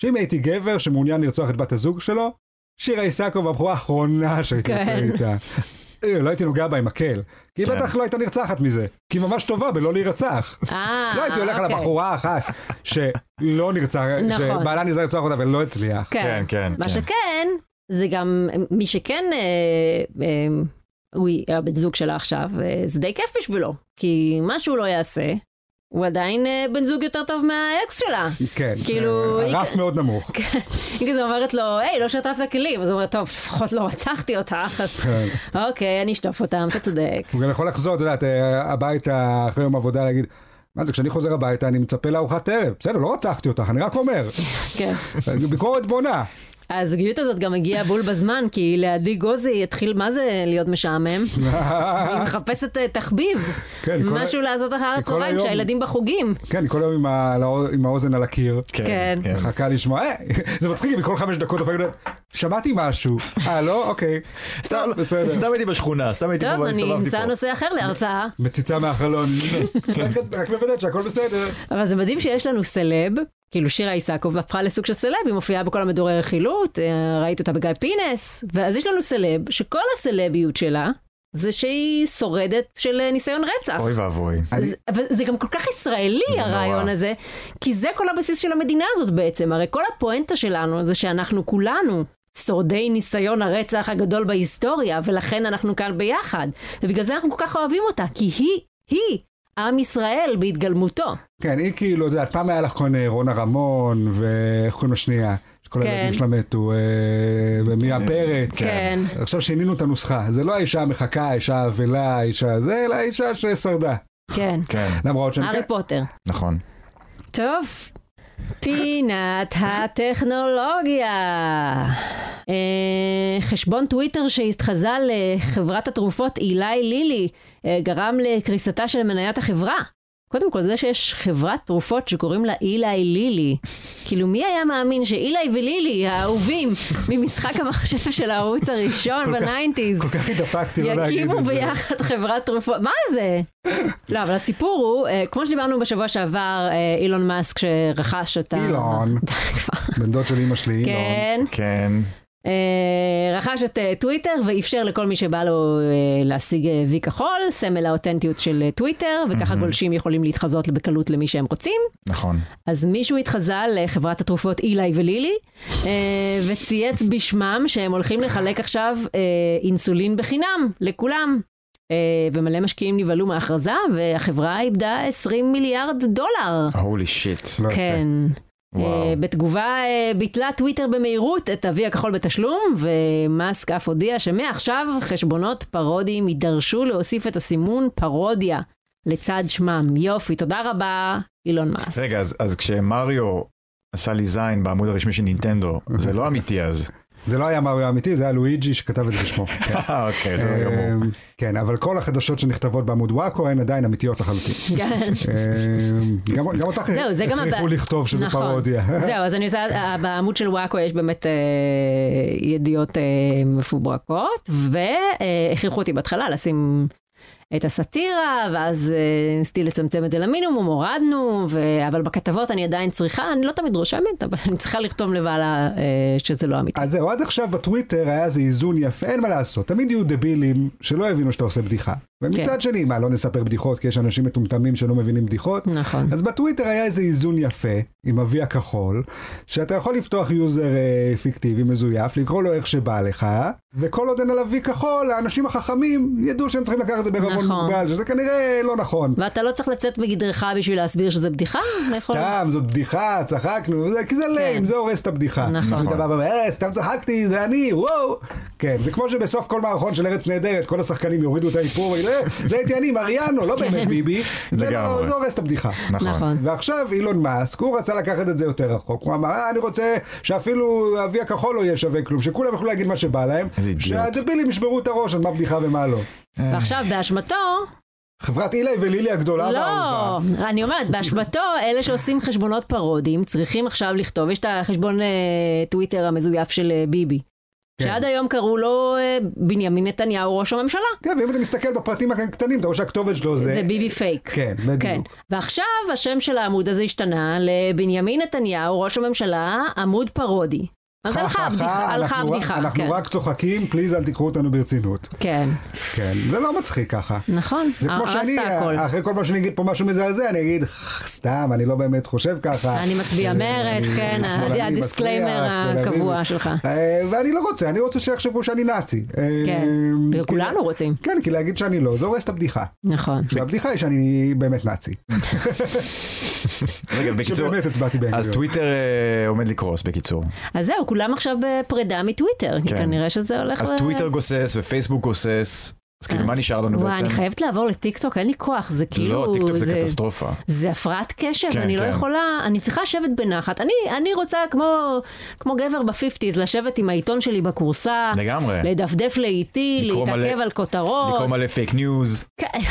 [SPEAKER 1] שאם הייתי גבר שמעוניין לרצוח את בת הזוג שלו, שירה איסקוב הבחורה האחרונה שהייתי יוצא
[SPEAKER 2] כן.
[SPEAKER 1] איתה. אה, לא הייתי נוגע בה עם מקל, כי היא
[SPEAKER 3] כן.
[SPEAKER 1] בטח לא הייתה נרצחת מזה, כי היא ממש טובה בלא להירצח.
[SPEAKER 2] אה,
[SPEAKER 1] לא הייתי הולך על
[SPEAKER 2] אוקיי.
[SPEAKER 1] הבחורה האחת שלא נרצח,
[SPEAKER 2] נכון.
[SPEAKER 1] שבעלה ניסה לרצוח אותה ולא הצליח.
[SPEAKER 3] כן, כן.
[SPEAKER 2] מה
[SPEAKER 3] כן.
[SPEAKER 2] שכן, זה גם מי שכן, אה, אה, הוא הבן זוג שלה עכשיו, אה, זה די כיף בשבילו. כי מה שהוא לא יעשה, הוא עדיין אה, בן זוג יותר טוב מהאקס שלה.
[SPEAKER 1] כן,
[SPEAKER 2] כאילו,
[SPEAKER 1] אה,
[SPEAKER 2] היא
[SPEAKER 1] הרף מאוד נמוך.
[SPEAKER 2] כן. היא כזה אומרת לו, היי, לא שטפת כלים. אז הוא אומר, טוב, לפחות לא רצחתי אותך. אז אוקיי, אני אשטוף אותם, אתה צודק.
[SPEAKER 1] כן. הוא גם יכול לחזור, את יודעת, אה, הביתה אחרי יום עבודה להגיד, מה זה, כשאני חוזר הביתה אני מצפה לארוחת ערב. בסדר, לא רצחתי אותך, אני רק אומר.
[SPEAKER 2] כן.
[SPEAKER 1] ביקורת בונה.
[SPEAKER 2] הזוגיות הזאת גם הגיעה בול בזמן, כי לעדי גוזי התחיל, מה זה להיות משעמם? היא מחפשת אה, תחביב.
[SPEAKER 1] כן, כל ה-
[SPEAKER 2] משהו לעשות אחר
[SPEAKER 1] כל
[SPEAKER 2] הצהריים,
[SPEAKER 1] היום-
[SPEAKER 2] כשהילדים בחוגים.
[SPEAKER 1] כן, אני כל היום עם ה- על האו- עם האוזן על הקיר.
[SPEAKER 2] כן.
[SPEAKER 1] מחכה לשמוע, אה, זה מצחיק, מכל חמש דקות דופק, שמעתי משהו, אה לא? אוקיי,
[SPEAKER 3] סתם,
[SPEAKER 1] סתם, בסדר.
[SPEAKER 3] סתם הייתי בשכונה, סתם הייתי פה
[SPEAKER 2] טוב, אני
[SPEAKER 3] והסתובבתי
[SPEAKER 2] אמצא
[SPEAKER 3] פה.
[SPEAKER 2] נושא אחר להרצאה.
[SPEAKER 1] מציצה מהחלון, רק- רק מוודאת שהכל בסדר.
[SPEAKER 2] אבל זה מדהים שיש לנו סלב, כאילו שירה איסקוב הפכה לסוג של סלב, היא מופיעה בכל המדורי רכילות, אה, ראית אותה בגיא פינס, ואז יש לנו סלב, שכל הסלביות שלה זה שהיא שורדת של אה, ניסיון רצח.
[SPEAKER 3] אוי ואבוי.
[SPEAKER 2] אז- אבל זה גם כל כך ישראלי
[SPEAKER 3] זה
[SPEAKER 2] הרעיון
[SPEAKER 3] נורא.
[SPEAKER 2] הזה, כי זה כל הבסיס של המדינה הזאת בעצם. הרי כל הפואנטה שלנו זה שאנחנו כולנו שורדי ניסיון הרצח הגדול בהיסטוריה, ולכן אנחנו כאן ביחד. ובגלל זה אנחנו כל כך אוהבים אותה, כי היא, היא, עם ישראל בהתגלמותו.
[SPEAKER 1] כן, היא כאילו, את יודעת, פעם היה לך כאן אה, רונה רמון, ואיך קוראים לשנייה? שכל
[SPEAKER 2] כן.
[SPEAKER 1] הילדים שלה מתו, אה, ומרים פרץ.
[SPEAKER 2] כן.
[SPEAKER 1] עכשיו שינינו את הנוסחה, זה לא האישה המחכה, האישה האבלה, האישה זה, אלא האישה ששרדה.
[SPEAKER 2] כן.
[SPEAKER 3] כן,
[SPEAKER 1] למרות שאני...
[SPEAKER 2] הארי פוטר.
[SPEAKER 3] נכון.
[SPEAKER 2] טוב. פינת הטכנולוגיה. אה, חשבון טוויטר שהתחזה לחברת התרופות אילי לילי אה, גרם לקריסתה של מניית החברה. קודם כל, זה שיש חברת תרופות שקוראים לה אילי לילי. כאילו, מי היה מאמין שאילי ולילי, האהובים ממשחק המחשב של הערוץ הראשון בניינטיז,
[SPEAKER 1] כל כך התאפקתי לא להגיד את זה.
[SPEAKER 2] יקימו ביחד חברת תרופות, מה זה? לא, אבל הסיפור הוא, אה, כמו שדיברנו בשבוע שעבר, אה, אילון מאסק שרכש את ה...
[SPEAKER 1] אילון.
[SPEAKER 2] די כבר.
[SPEAKER 1] בן דוד של אימא שלי, אילון.
[SPEAKER 2] כן.
[SPEAKER 3] כן.
[SPEAKER 2] אה, רכש את אה, טוויטר ואפשר לכל מי שבא לו אה, להשיג אה, וי כחול, סמל האותנטיות של אה, טוויטר, וככה גולשים יכולים להתחזות בקלות למי שהם רוצים.
[SPEAKER 3] נכון.
[SPEAKER 2] אז מישהו התחזה לחברת התרופות אילי ולילי, אה, וצייץ בשמם שהם הולכים לחלק עכשיו אה, אינסולין בחינם לכולם. אה, ומלא משקיעים נבהלו מההכרזה, והחברה איבדה 20 מיליארד דולר.
[SPEAKER 3] הולי שיט.
[SPEAKER 1] לא יפה.
[SPEAKER 2] כן.
[SPEAKER 3] וואו.
[SPEAKER 2] אה, בתגובה אה, ביטלה טוויטר במהירות את אבי הכחול בתשלום, ומאסק אף הודיע שמעכשיו חשבונות פרודיים יידרשו להוסיף את הסימון פרודיה לצד שמם. יופי, תודה רבה, אילון מאסק.
[SPEAKER 3] רגע, אז- אז כשמריו עשה לי זין בעמוד הרשמי של נינטנדו, זה לא אמיתי אז.
[SPEAKER 1] זה לא היה מריו האמיתי, זה היה לואיג'י שכתב את זה בשמו. כן.
[SPEAKER 3] אה, אוקיי, זה גמור.
[SPEAKER 1] אמ, כן, אבל כל החדשות שנכתבות בעמוד וואקו הן עדיין אמיתיות לחלוטין.
[SPEAKER 2] כן.
[SPEAKER 1] אמ, גם גם אותך
[SPEAKER 2] זהו, זה גם
[SPEAKER 1] הכריחו
[SPEAKER 2] הבע-
[SPEAKER 1] לכתוב שזה
[SPEAKER 2] נכון.
[SPEAKER 1] פרודיה.
[SPEAKER 2] זהו, אז אני עושה, אה, בעמוד של וואקו יש באמת אה, ידיעות אה, מפוברקות, והכריחו אותי בהתחלה לשים את הסאטירה, ואז אה, ניסיתי לצמצם את זה למינימום, הורדנו, ו... אבל בכתבות אני עדיין צריכה, אני לא תמיד רושמת, אבל אני צריכה לכתוב לבעלה אה, שזה לא אמיתי.
[SPEAKER 1] אז זהו, עד עכשיו בטוויטר היה איזה איזון יפה, אין מה לעשות. תמיד יהיו דבילים שלא הבינו שאתה עושה בדיחה.
[SPEAKER 2] כן.
[SPEAKER 1] ומצד שני, מה, לא נספר בדיחות, כי יש אנשים מטומטמים שלא מבינים בדיחות?
[SPEAKER 2] נכון.
[SPEAKER 1] אז בטוויטר היה איזה איזון יפה, עם אבי הכחול, שאתה יכול לפתוח יוזר אה, פיקטיבי מזויף, לקרוא לו איך שבא לך, וכל עוד אין עליו וי כחול, האנשים החכמים ידעו שהם צריכים לקחת את זה בערבון
[SPEAKER 2] נכון.
[SPEAKER 1] מוגבל, שזה כנראה לא נכון.
[SPEAKER 2] ואתה לא צריך לצאת מגדרך בשביל להסביר שזה בדיחה? נכון? אתה יכול-
[SPEAKER 1] סתם, זאת בדיחה, צחקנו, וזה- כי זה ליים, זה הורס את הבדיחה.
[SPEAKER 2] כן. נכון.
[SPEAKER 1] ואתה בא ואומר, "אה, סתם צחקתי, זה אני, וואו. כן, זה כמו שבסוף כל מערכון של ארץ נהדרת, כל השחקנים יורידו את האיפור, "אה, זה הייתי אני, מריאנו, לא
[SPEAKER 2] כן.
[SPEAKER 1] באמת ביבי. זה לא-
[SPEAKER 3] לגמרי.
[SPEAKER 1] זה הורס את הבדיחה.
[SPEAKER 3] נכון.
[SPEAKER 2] נכון.
[SPEAKER 1] ועכשיו אילון מאסק, הוא רצה לקחת את זה יותר רחוק. הוא אמר, "אה, אני רוצה שאפילו אבי הכחול לא יהיה שווה כלום, שכולם יוכלו להגיד מה שבא להם.
[SPEAKER 3] איזה אידיוט.
[SPEAKER 1] שהדבילים ישברו את הראש על מה בדיחה ומה לא.
[SPEAKER 2] ועכשיו, באשמתו,
[SPEAKER 1] חברת אילי ולילי הגדולה והאהובה.
[SPEAKER 2] לא, אני אומרת, באשמתו, אלה שעושים חשבונות פרודיים צריכים עכשיו לכתוב, יש את החשבון אה, טוויטר המזויף של אה, ביבי.
[SPEAKER 1] כן.
[SPEAKER 2] שעד היום קראו לו אה, בנימין נתניהו ראש הממשלה.
[SPEAKER 1] כן, ואם אתה מסתכל בפרטים הקטנים, אתה רואה שהכתובת שלו זה...
[SPEAKER 2] זה ביבי פייק.
[SPEAKER 1] כן,
[SPEAKER 2] כן.
[SPEAKER 1] בדיוק.
[SPEAKER 2] ועכשיו השם של העמוד הזה השתנה לבנימין נתניהו ראש הממשלה עמוד פרודי. אז
[SPEAKER 1] חה,
[SPEAKER 2] הלכה
[SPEAKER 1] חה,
[SPEAKER 2] הבדיחה,
[SPEAKER 1] חה,
[SPEAKER 2] הלכה
[SPEAKER 1] אנחנו-
[SPEAKER 2] הבדיחה,
[SPEAKER 1] אנחנו
[SPEAKER 2] כן.
[SPEAKER 1] רק צוחקים, פליז אל תיקחו אותנו ברצינות.
[SPEAKER 2] כן,
[SPEAKER 1] כן, זה לא מצחיק ככה.
[SPEAKER 2] נכון,
[SPEAKER 1] זה כמו
[SPEAKER 2] הרסת
[SPEAKER 1] שאני,
[SPEAKER 2] הכל.
[SPEAKER 1] אחרי כל פעם שאני אגיד פה משהו מזעזע, אני אגיד, סתם, אני לא באמת חושב ככה.
[SPEAKER 2] אני מצביע
[SPEAKER 1] אה,
[SPEAKER 2] מרצ,
[SPEAKER 1] אני
[SPEAKER 2] כן,
[SPEAKER 1] שמאלני,
[SPEAKER 2] הד- הדיסקליימר
[SPEAKER 1] מסריח, תל
[SPEAKER 2] הקבוע
[SPEAKER 1] אביב.
[SPEAKER 2] שלך.
[SPEAKER 1] אה, ואני לא רוצה, אני רוצה שיחשבו שאני נאצי. אה,
[SPEAKER 2] כן.
[SPEAKER 1] כי-
[SPEAKER 2] כולנו רוצים.
[SPEAKER 1] כן, כי להגיד שאני לא, זה הורס את הבדיחה.
[SPEAKER 2] נכון.
[SPEAKER 1] והבדיחה היא שאני באמת נאצי.
[SPEAKER 3] רגע, בקיצור,
[SPEAKER 1] שבאמת הצבעתי בן
[SPEAKER 3] אז
[SPEAKER 1] גוריון.
[SPEAKER 3] טוויטר אה, עומד לקרוס בקיצור.
[SPEAKER 2] אז זהו, כולם עכשיו בפרידה מטוויטר, כי
[SPEAKER 3] כן.
[SPEAKER 2] כנראה שזה הולך...
[SPEAKER 3] אז
[SPEAKER 2] ל-
[SPEAKER 3] טוויטר גוסס ופייסבוק גוסס, אז
[SPEAKER 2] אה.
[SPEAKER 3] כאילו מה נשאר לנו
[SPEAKER 2] וואי, אני
[SPEAKER 3] בעצם?
[SPEAKER 2] חייבת לעבור לטיקטוק, אין לי כוח, זה אה, כאילו...
[SPEAKER 3] לא, טיקטוק זה קטסטרופה.
[SPEAKER 2] זה הפרעת קשב,
[SPEAKER 3] כן,
[SPEAKER 2] אני לא
[SPEAKER 3] כן.
[SPEAKER 2] יכולה, אני צריכה לשבת בנחת. אני, אני רוצה, כמו, כמו גבר בפיפטיז, לשבת עם העיתון שלי בכורסה,
[SPEAKER 3] לגמרי.
[SPEAKER 2] לדפדף לאיטי,
[SPEAKER 3] לקרוא
[SPEAKER 2] להתעכב
[SPEAKER 3] מלא-
[SPEAKER 2] על כותרות.
[SPEAKER 3] לקרוא מלא פייק ניוז,
[SPEAKER 2] כן,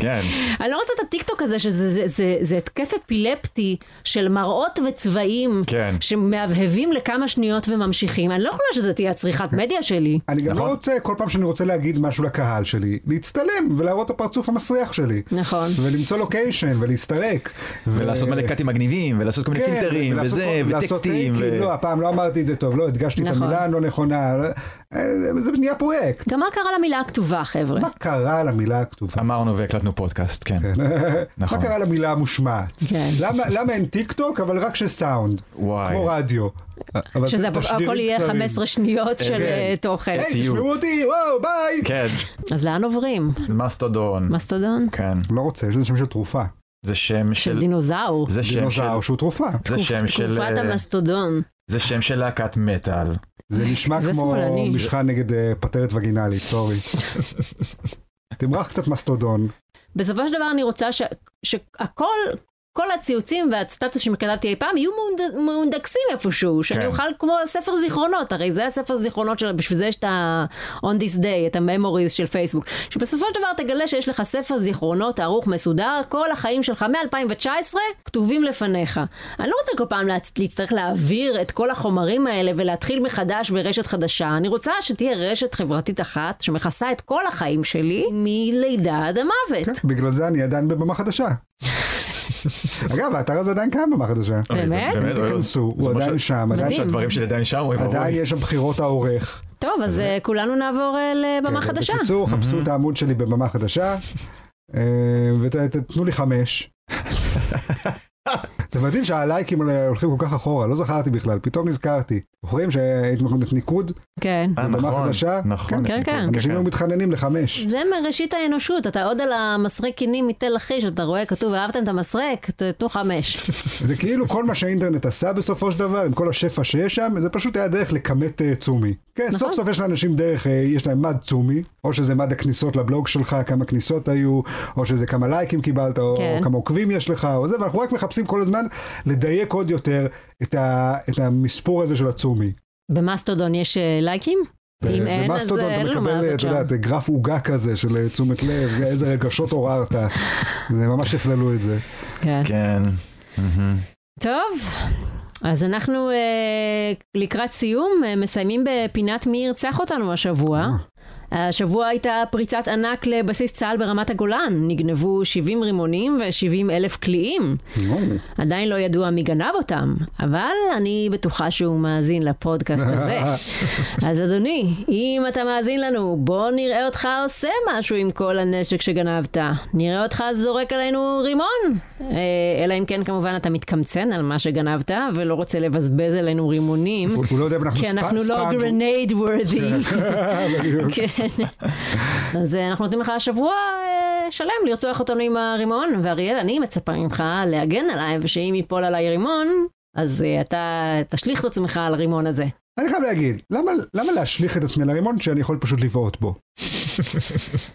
[SPEAKER 3] כן.
[SPEAKER 2] אני לא רוצה את הטיקטוק הזה, שזה זה, זה, זה התקף אפילפטי של מראות וצבעים,
[SPEAKER 3] כן.
[SPEAKER 2] שמהבהבים לכמה שניות וממשיכים. אני לא יכולה שזה תהיה הצריכת מדיה שלי.
[SPEAKER 1] אני גם
[SPEAKER 3] נכון.
[SPEAKER 1] לא רוצה, כל פעם שאני רוצה להגיד משהו לקהל שלי, להצטלם ולהראות את הפרצוף המסריח שלי.
[SPEAKER 2] נכון.
[SPEAKER 1] ולמצוא לוקיישן ולהסתרק.
[SPEAKER 3] ולעשות
[SPEAKER 1] ו-
[SPEAKER 3] מלא קאטים מגניבים, ולעשות כל מיני
[SPEAKER 1] אה, כן,
[SPEAKER 3] פילטרים,
[SPEAKER 1] ולעשות-
[SPEAKER 3] וזה,
[SPEAKER 1] לעשות
[SPEAKER 3] וטקסטים.
[SPEAKER 1] טייקים,
[SPEAKER 3] ו-
[SPEAKER 1] לא, הפעם לא אמרתי את זה טוב, לא הדגשתי את
[SPEAKER 2] נכון.
[SPEAKER 1] המילה הלא נכונה. אה, זה נהיה פרויקט.
[SPEAKER 2] גם מה קרה למילה הכתובה, חבר'ה?
[SPEAKER 1] מה קרה למילה הכתובה?
[SPEAKER 3] אמרנו והקלטנו פודקאסט, כן. נכון.
[SPEAKER 1] מה קרה למילה המושמעת?
[SPEAKER 2] כן.
[SPEAKER 1] למה- למה אין טיק טוק אבל רק שסאונד?
[SPEAKER 3] וואי.
[SPEAKER 1] כמו רדיו. אבל
[SPEAKER 2] שזה
[SPEAKER 1] תשדירים
[SPEAKER 2] הכל יהיה
[SPEAKER 1] קצרים.
[SPEAKER 2] 15 שניות של
[SPEAKER 3] כן.
[SPEAKER 2] אה, תוכן.
[SPEAKER 1] היי,
[SPEAKER 3] ציוט.
[SPEAKER 1] תשמעו אותי, וואו, ביי!
[SPEAKER 3] כן,
[SPEAKER 2] אז לאן עוברים?
[SPEAKER 3] מסטודון.
[SPEAKER 2] מסטודון?
[SPEAKER 3] כן.
[SPEAKER 1] לא רוצה, יש לזה שם של תרופה.
[SPEAKER 3] זה שם של...
[SPEAKER 2] של דינוזאור.
[SPEAKER 3] זה שם של...
[SPEAKER 1] דינוזאור שהוא תרופה.
[SPEAKER 3] זה שם של...
[SPEAKER 2] תקופת
[SPEAKER 3] אה,
[SPEAKER 2] המסטודון.
[SPEAKER 3] זה שם של להקת מטאל.
[SPEAKER 1] זה נשמע
[SPEAKER 2] זה
[SPEAKER 1] כמו
[SPEAKER 2] שמאלני.
[SPEAKER 1] משחה נגד אה, פטרת וגינלית, סורי. תמרח קצת מסטודון.
[SPEAKER 2] בסופו של דבר אני רוצה ש- שהכל, כל הציוצים והסטטוס שכתבתי אי פעם יהיו מהונד- מהונדקסים איפשהו, שאני
[SPEAKER 3] כן.
[SPEAKER 2] אוכל כמו ספר זיכרונות, הרי זה הספר זיכרונות של... בשביל זה יש את ה-on this day, את ה-memories של פייסבוק, שבסופו של דבר תגלה שיש לך ספר זיכרונות ערוך מסודר, כל החיים שלך מ-2019 כתובים לפניך. אני לא רוצה כל פעם להצ- להצטרך להעביר את כל החומרים האלה ולהתחיל מחדש ברשת חדשה, אני רוצה שתהיה רשת חברתית אחת שמכסה את כל החיים שלי מלידה עד המוות.
[SPEAKER 1] כן, בגלל זה אני עדיין בבמה חדשה. אגב, האתר הזה עדיין קיים בבמה חדשה.
[SPEAKER 2] באמת?
[SPEAKER 1] תיכנסו, הוא
[SPEAKER 3] זה מה
[SPEAKER 1] עדיין
[SPEAKER 3] ש-
[SPEAKER 1] שם,
[SPEAKER 3] זה
[SPEAKER 1] עדיין
[SPEAKER 2] מדהים.
[SPEAKER 3] שהדברים שלי עדיין שם, אוי
[SPEAKER 1] עדיין
[SPEAKER 3] ואבוי.
[SPEAKER 1] יש שם בחירות העורך.
[SPEAKER 2] טוב, אז אה, כולנו נעבור אה, לבמה חדשה.
[SPEAKER 1] כן, בקיצור, חפשו את העמוד שלי בבמה חדשה, ותתנו לי חמש. זה מדהים שהלייקים הולכים כל כך אחורה, לא זכרתי בכלל, פתאום נזכרתי. זוכרים שהייתם יכולים לתת ניקוד?
[SPEAKER 2] כן.
[SPEAKER 3] אה,
[SPEAKER 1] במה
[SPEAKER 3] נכון,
[SPEAKER 1] חדשה?
[SPEAKER 3] נכון.
[SPEAKER 2] כן, כן.
[SPEAKER 1] אנשים היו מתחננים לחמש.
[SPEAKER 2] זה מראשית האנושות, אתה עוד על המסרק קינים מתל אחיש, אתה רואה כתוב, אהבתם את המסרק? תתנו חמש.
[SPEAKER 1] זה כאילו כל מה שהאינטרנט עשה בסופו של דבר, עם כל השפע שיש שם, זה פשוט היה דרך לכמת אה, צומי. כן,
[SPEAKER 2] נכון.
[SPEAKER 1] סוף סוף יש לאנשים דרך, אה, יש להם מד צומי, או שזה מד הכניסות לבלוג שלך, כמה כניסות היו, או שזה כמה לייקים קיבלת, או
[SPEAKER 2] כן.
[SPEAKER 1] כמה עוקבים יש לך, או זה, ואנחנו רק מחפשים כל הזמן לדייק עוד יותר את, ה, את המספור הזה של הצומי.
[SPEAKER 2] במאסטודון יש אה, לייקים? אם אין, אז
[SPEAKER 1] במאסטודון
[SPEAKER 2] אה, אין לנו מה
[SPEAKER 1] אתה מקבל,
[SPEAKER 2] לעשות
[SPEAKER 1] את
[SPEAKER 2] שם.
[SPEAKER 1] יודעת, גרף עוגה כזה של אה, תשומת לב, איזה רגשות עוררת. זה ממש הפללו את זה.
[SPEAKER 2] כן.
[SPEAKER 3] כן. מהמם.
[SPEAKER 2] טוב, אז אנחנו אה, לקראת סיום, אה, מסיימים בפינת מי ירצח אותנו השבוע.
[SPEAKER 1] אה.
[SPEAKER 2] השבוע הייתה פריצת ענק לבסיס צה"ל ברמת הגולן. נגנבו 70 רימונים ו-70 אלף קליעים. עדיין לא ידוע מי גנב אותם, אבל אני בטוחה שהוא מאזין לפודקאסט הזה. אז אדוני, אם אתה מאזין לנו, בוא נראה אותך עושה משהו עם כל הנשק שגנבת. נראה אותך זורק עלינו רימון. אה, אלא אם כן, כמובן, אתה מתקמצן על מה שגנבת, ולא רוצה לבזבז עלינו רימונים,
[SPEAKER 1] הוא הוא לא יודע אם אנחנו
[SPEAKER 2] כי אנחנו
[SPEAKER 1] ספ-
[SPEAKER 2] לא
[SPEAKER 1] ספאנג'-
[SPEAKER 2] גרנייד וורדי. כן. אז אה, אנחנו נותנים לך שבוע אה, שלם לרצוח אותנו עם הרימון, ואריאל, אני מצפה ממך להגן עליי, ושאם ייפול עליי רימון, אז אה, אתה תשליך את עצמך על הרימון הזה.
[SPEAKER 1] אני חייב להגיד, למה, למה להשליך את עצמי על הרימון כשאני יכול פשוט לבעוט בו?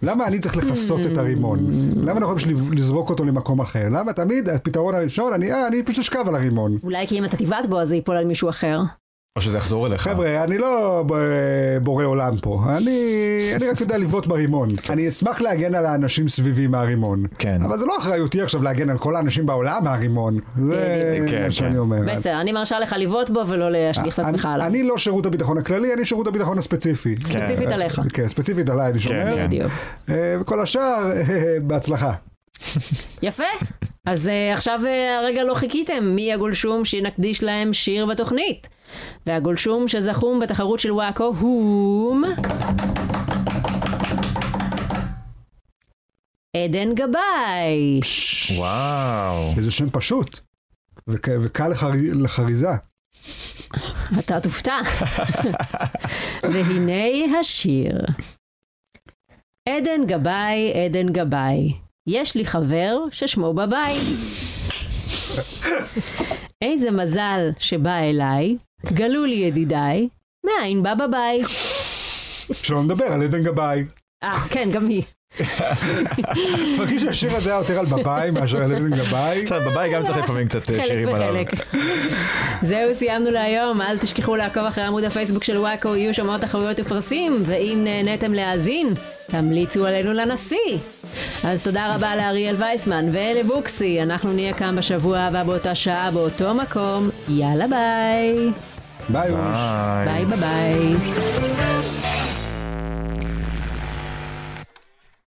[SPEAKER 1] למה אני צריך לכסות את הרימון? למה אני לא יכול פשוט לזרוק אותו למקום אחר? למה תמיד הפתרון הראשון, אני, אה, אני פשוט אשכב על הרימון.
[SPEAKER 2] אולי כי אם אתה תבעט בו, אז זה ייפול על מישהו אחר.
[SPEAKER 3] או שזה יחזור אליך.
[SPEAKER 1] חבר'ה, אני לא ב- בורא עולם פה, אני, אני רק יודע לבעוט ברימון. אני אשמח להגן על האנשים סביבי מהרימון.
[SPEAKER 3] כן.
[SPEAKER 1] אבל זה לא אחריותי עכשיו להגן על כל האנשים בעולם מהרימון. זה
[SPEAKER 3] כן,
[SPEAKER 1] מה
[SPEAKER 3] כן.
[SPEAKER 1] שאני אומר.
[SPEAKER 2] בסדר, אני מרשה לך לבעוט בו ולא להשליך את
[SPEAKER 1] אני-
[SPEAKER 2] עצמך עליו.
[SPEAKER 1] אני לא שירות הביטחון הכללי, אני שירות הביטחון הספציפי.
[SPEAKER 2] ספציפית עליך.
[SPEAKER 1] כן, ספציפית עליי אני שומר.
[SPEAKER 3] כן.
[SPEAKER 2] בדיוק.
[SPEAKER 1] אה, וכל השאר, אה, בהצלחה.
[SPEAKER 2] יפה, אז אה, עכשיו אה, הרגע לא חיכיתם, מי הגולשום שנקדיש להם שיר בתוכנית? והגולשום שזכום בתחרות של וואקו הום... עדן גבאי.
[SPEAKER 3] וואו.
[SPEAKER 1] איזה שם פשוט. וכ- וקל לחר- לחריזה.
[SPEAKER 2] אתה תופתע. והנה השיר. עדן גבאי, עדן גבאי, יש לי חבר ששמו בבאי. איזה מזל שבא אליי, גלו לי ידידיי, מאין בא בבאי.
[SPEAKER 1] שלא נדבר על עדן גבאי.
[SPEAKER 2] אה, כן, גם היא.
[SPEAKER 1] מרגיש שהשיר הזה היה יותר על בבאי מאשר על עדן גבאי.
[SPEAKER 3] עכשיו, בבית גם צריך לפעמים קצת אה,
[SPEAKER 2] חלק
[SPEAKER 3] שירים עליו.
[SPEAKER 2] וחלק. זהו, סיימנו להיום. אל תשכחו לעקוב אחרי עמוד הפייסבוק של וואקו, יהיו שם עוד תחרויות ופרסים, ואם נהניתם להאזין, תמליצו עלינו לנשיא. אז תודה רבה לאריאל וייסמן ולבוקסי, אנחנו נהיה כאן בשבוע הבא באותה שעה, באותו מקום. יאללה ביי.
[SPEAKER 3] אה.
[SPEAKER 1] ביי אוש.
[SPEAKER 2] ביי
[SPEAKER 3] ביי.
[SPEAKER 2] ביי ביי.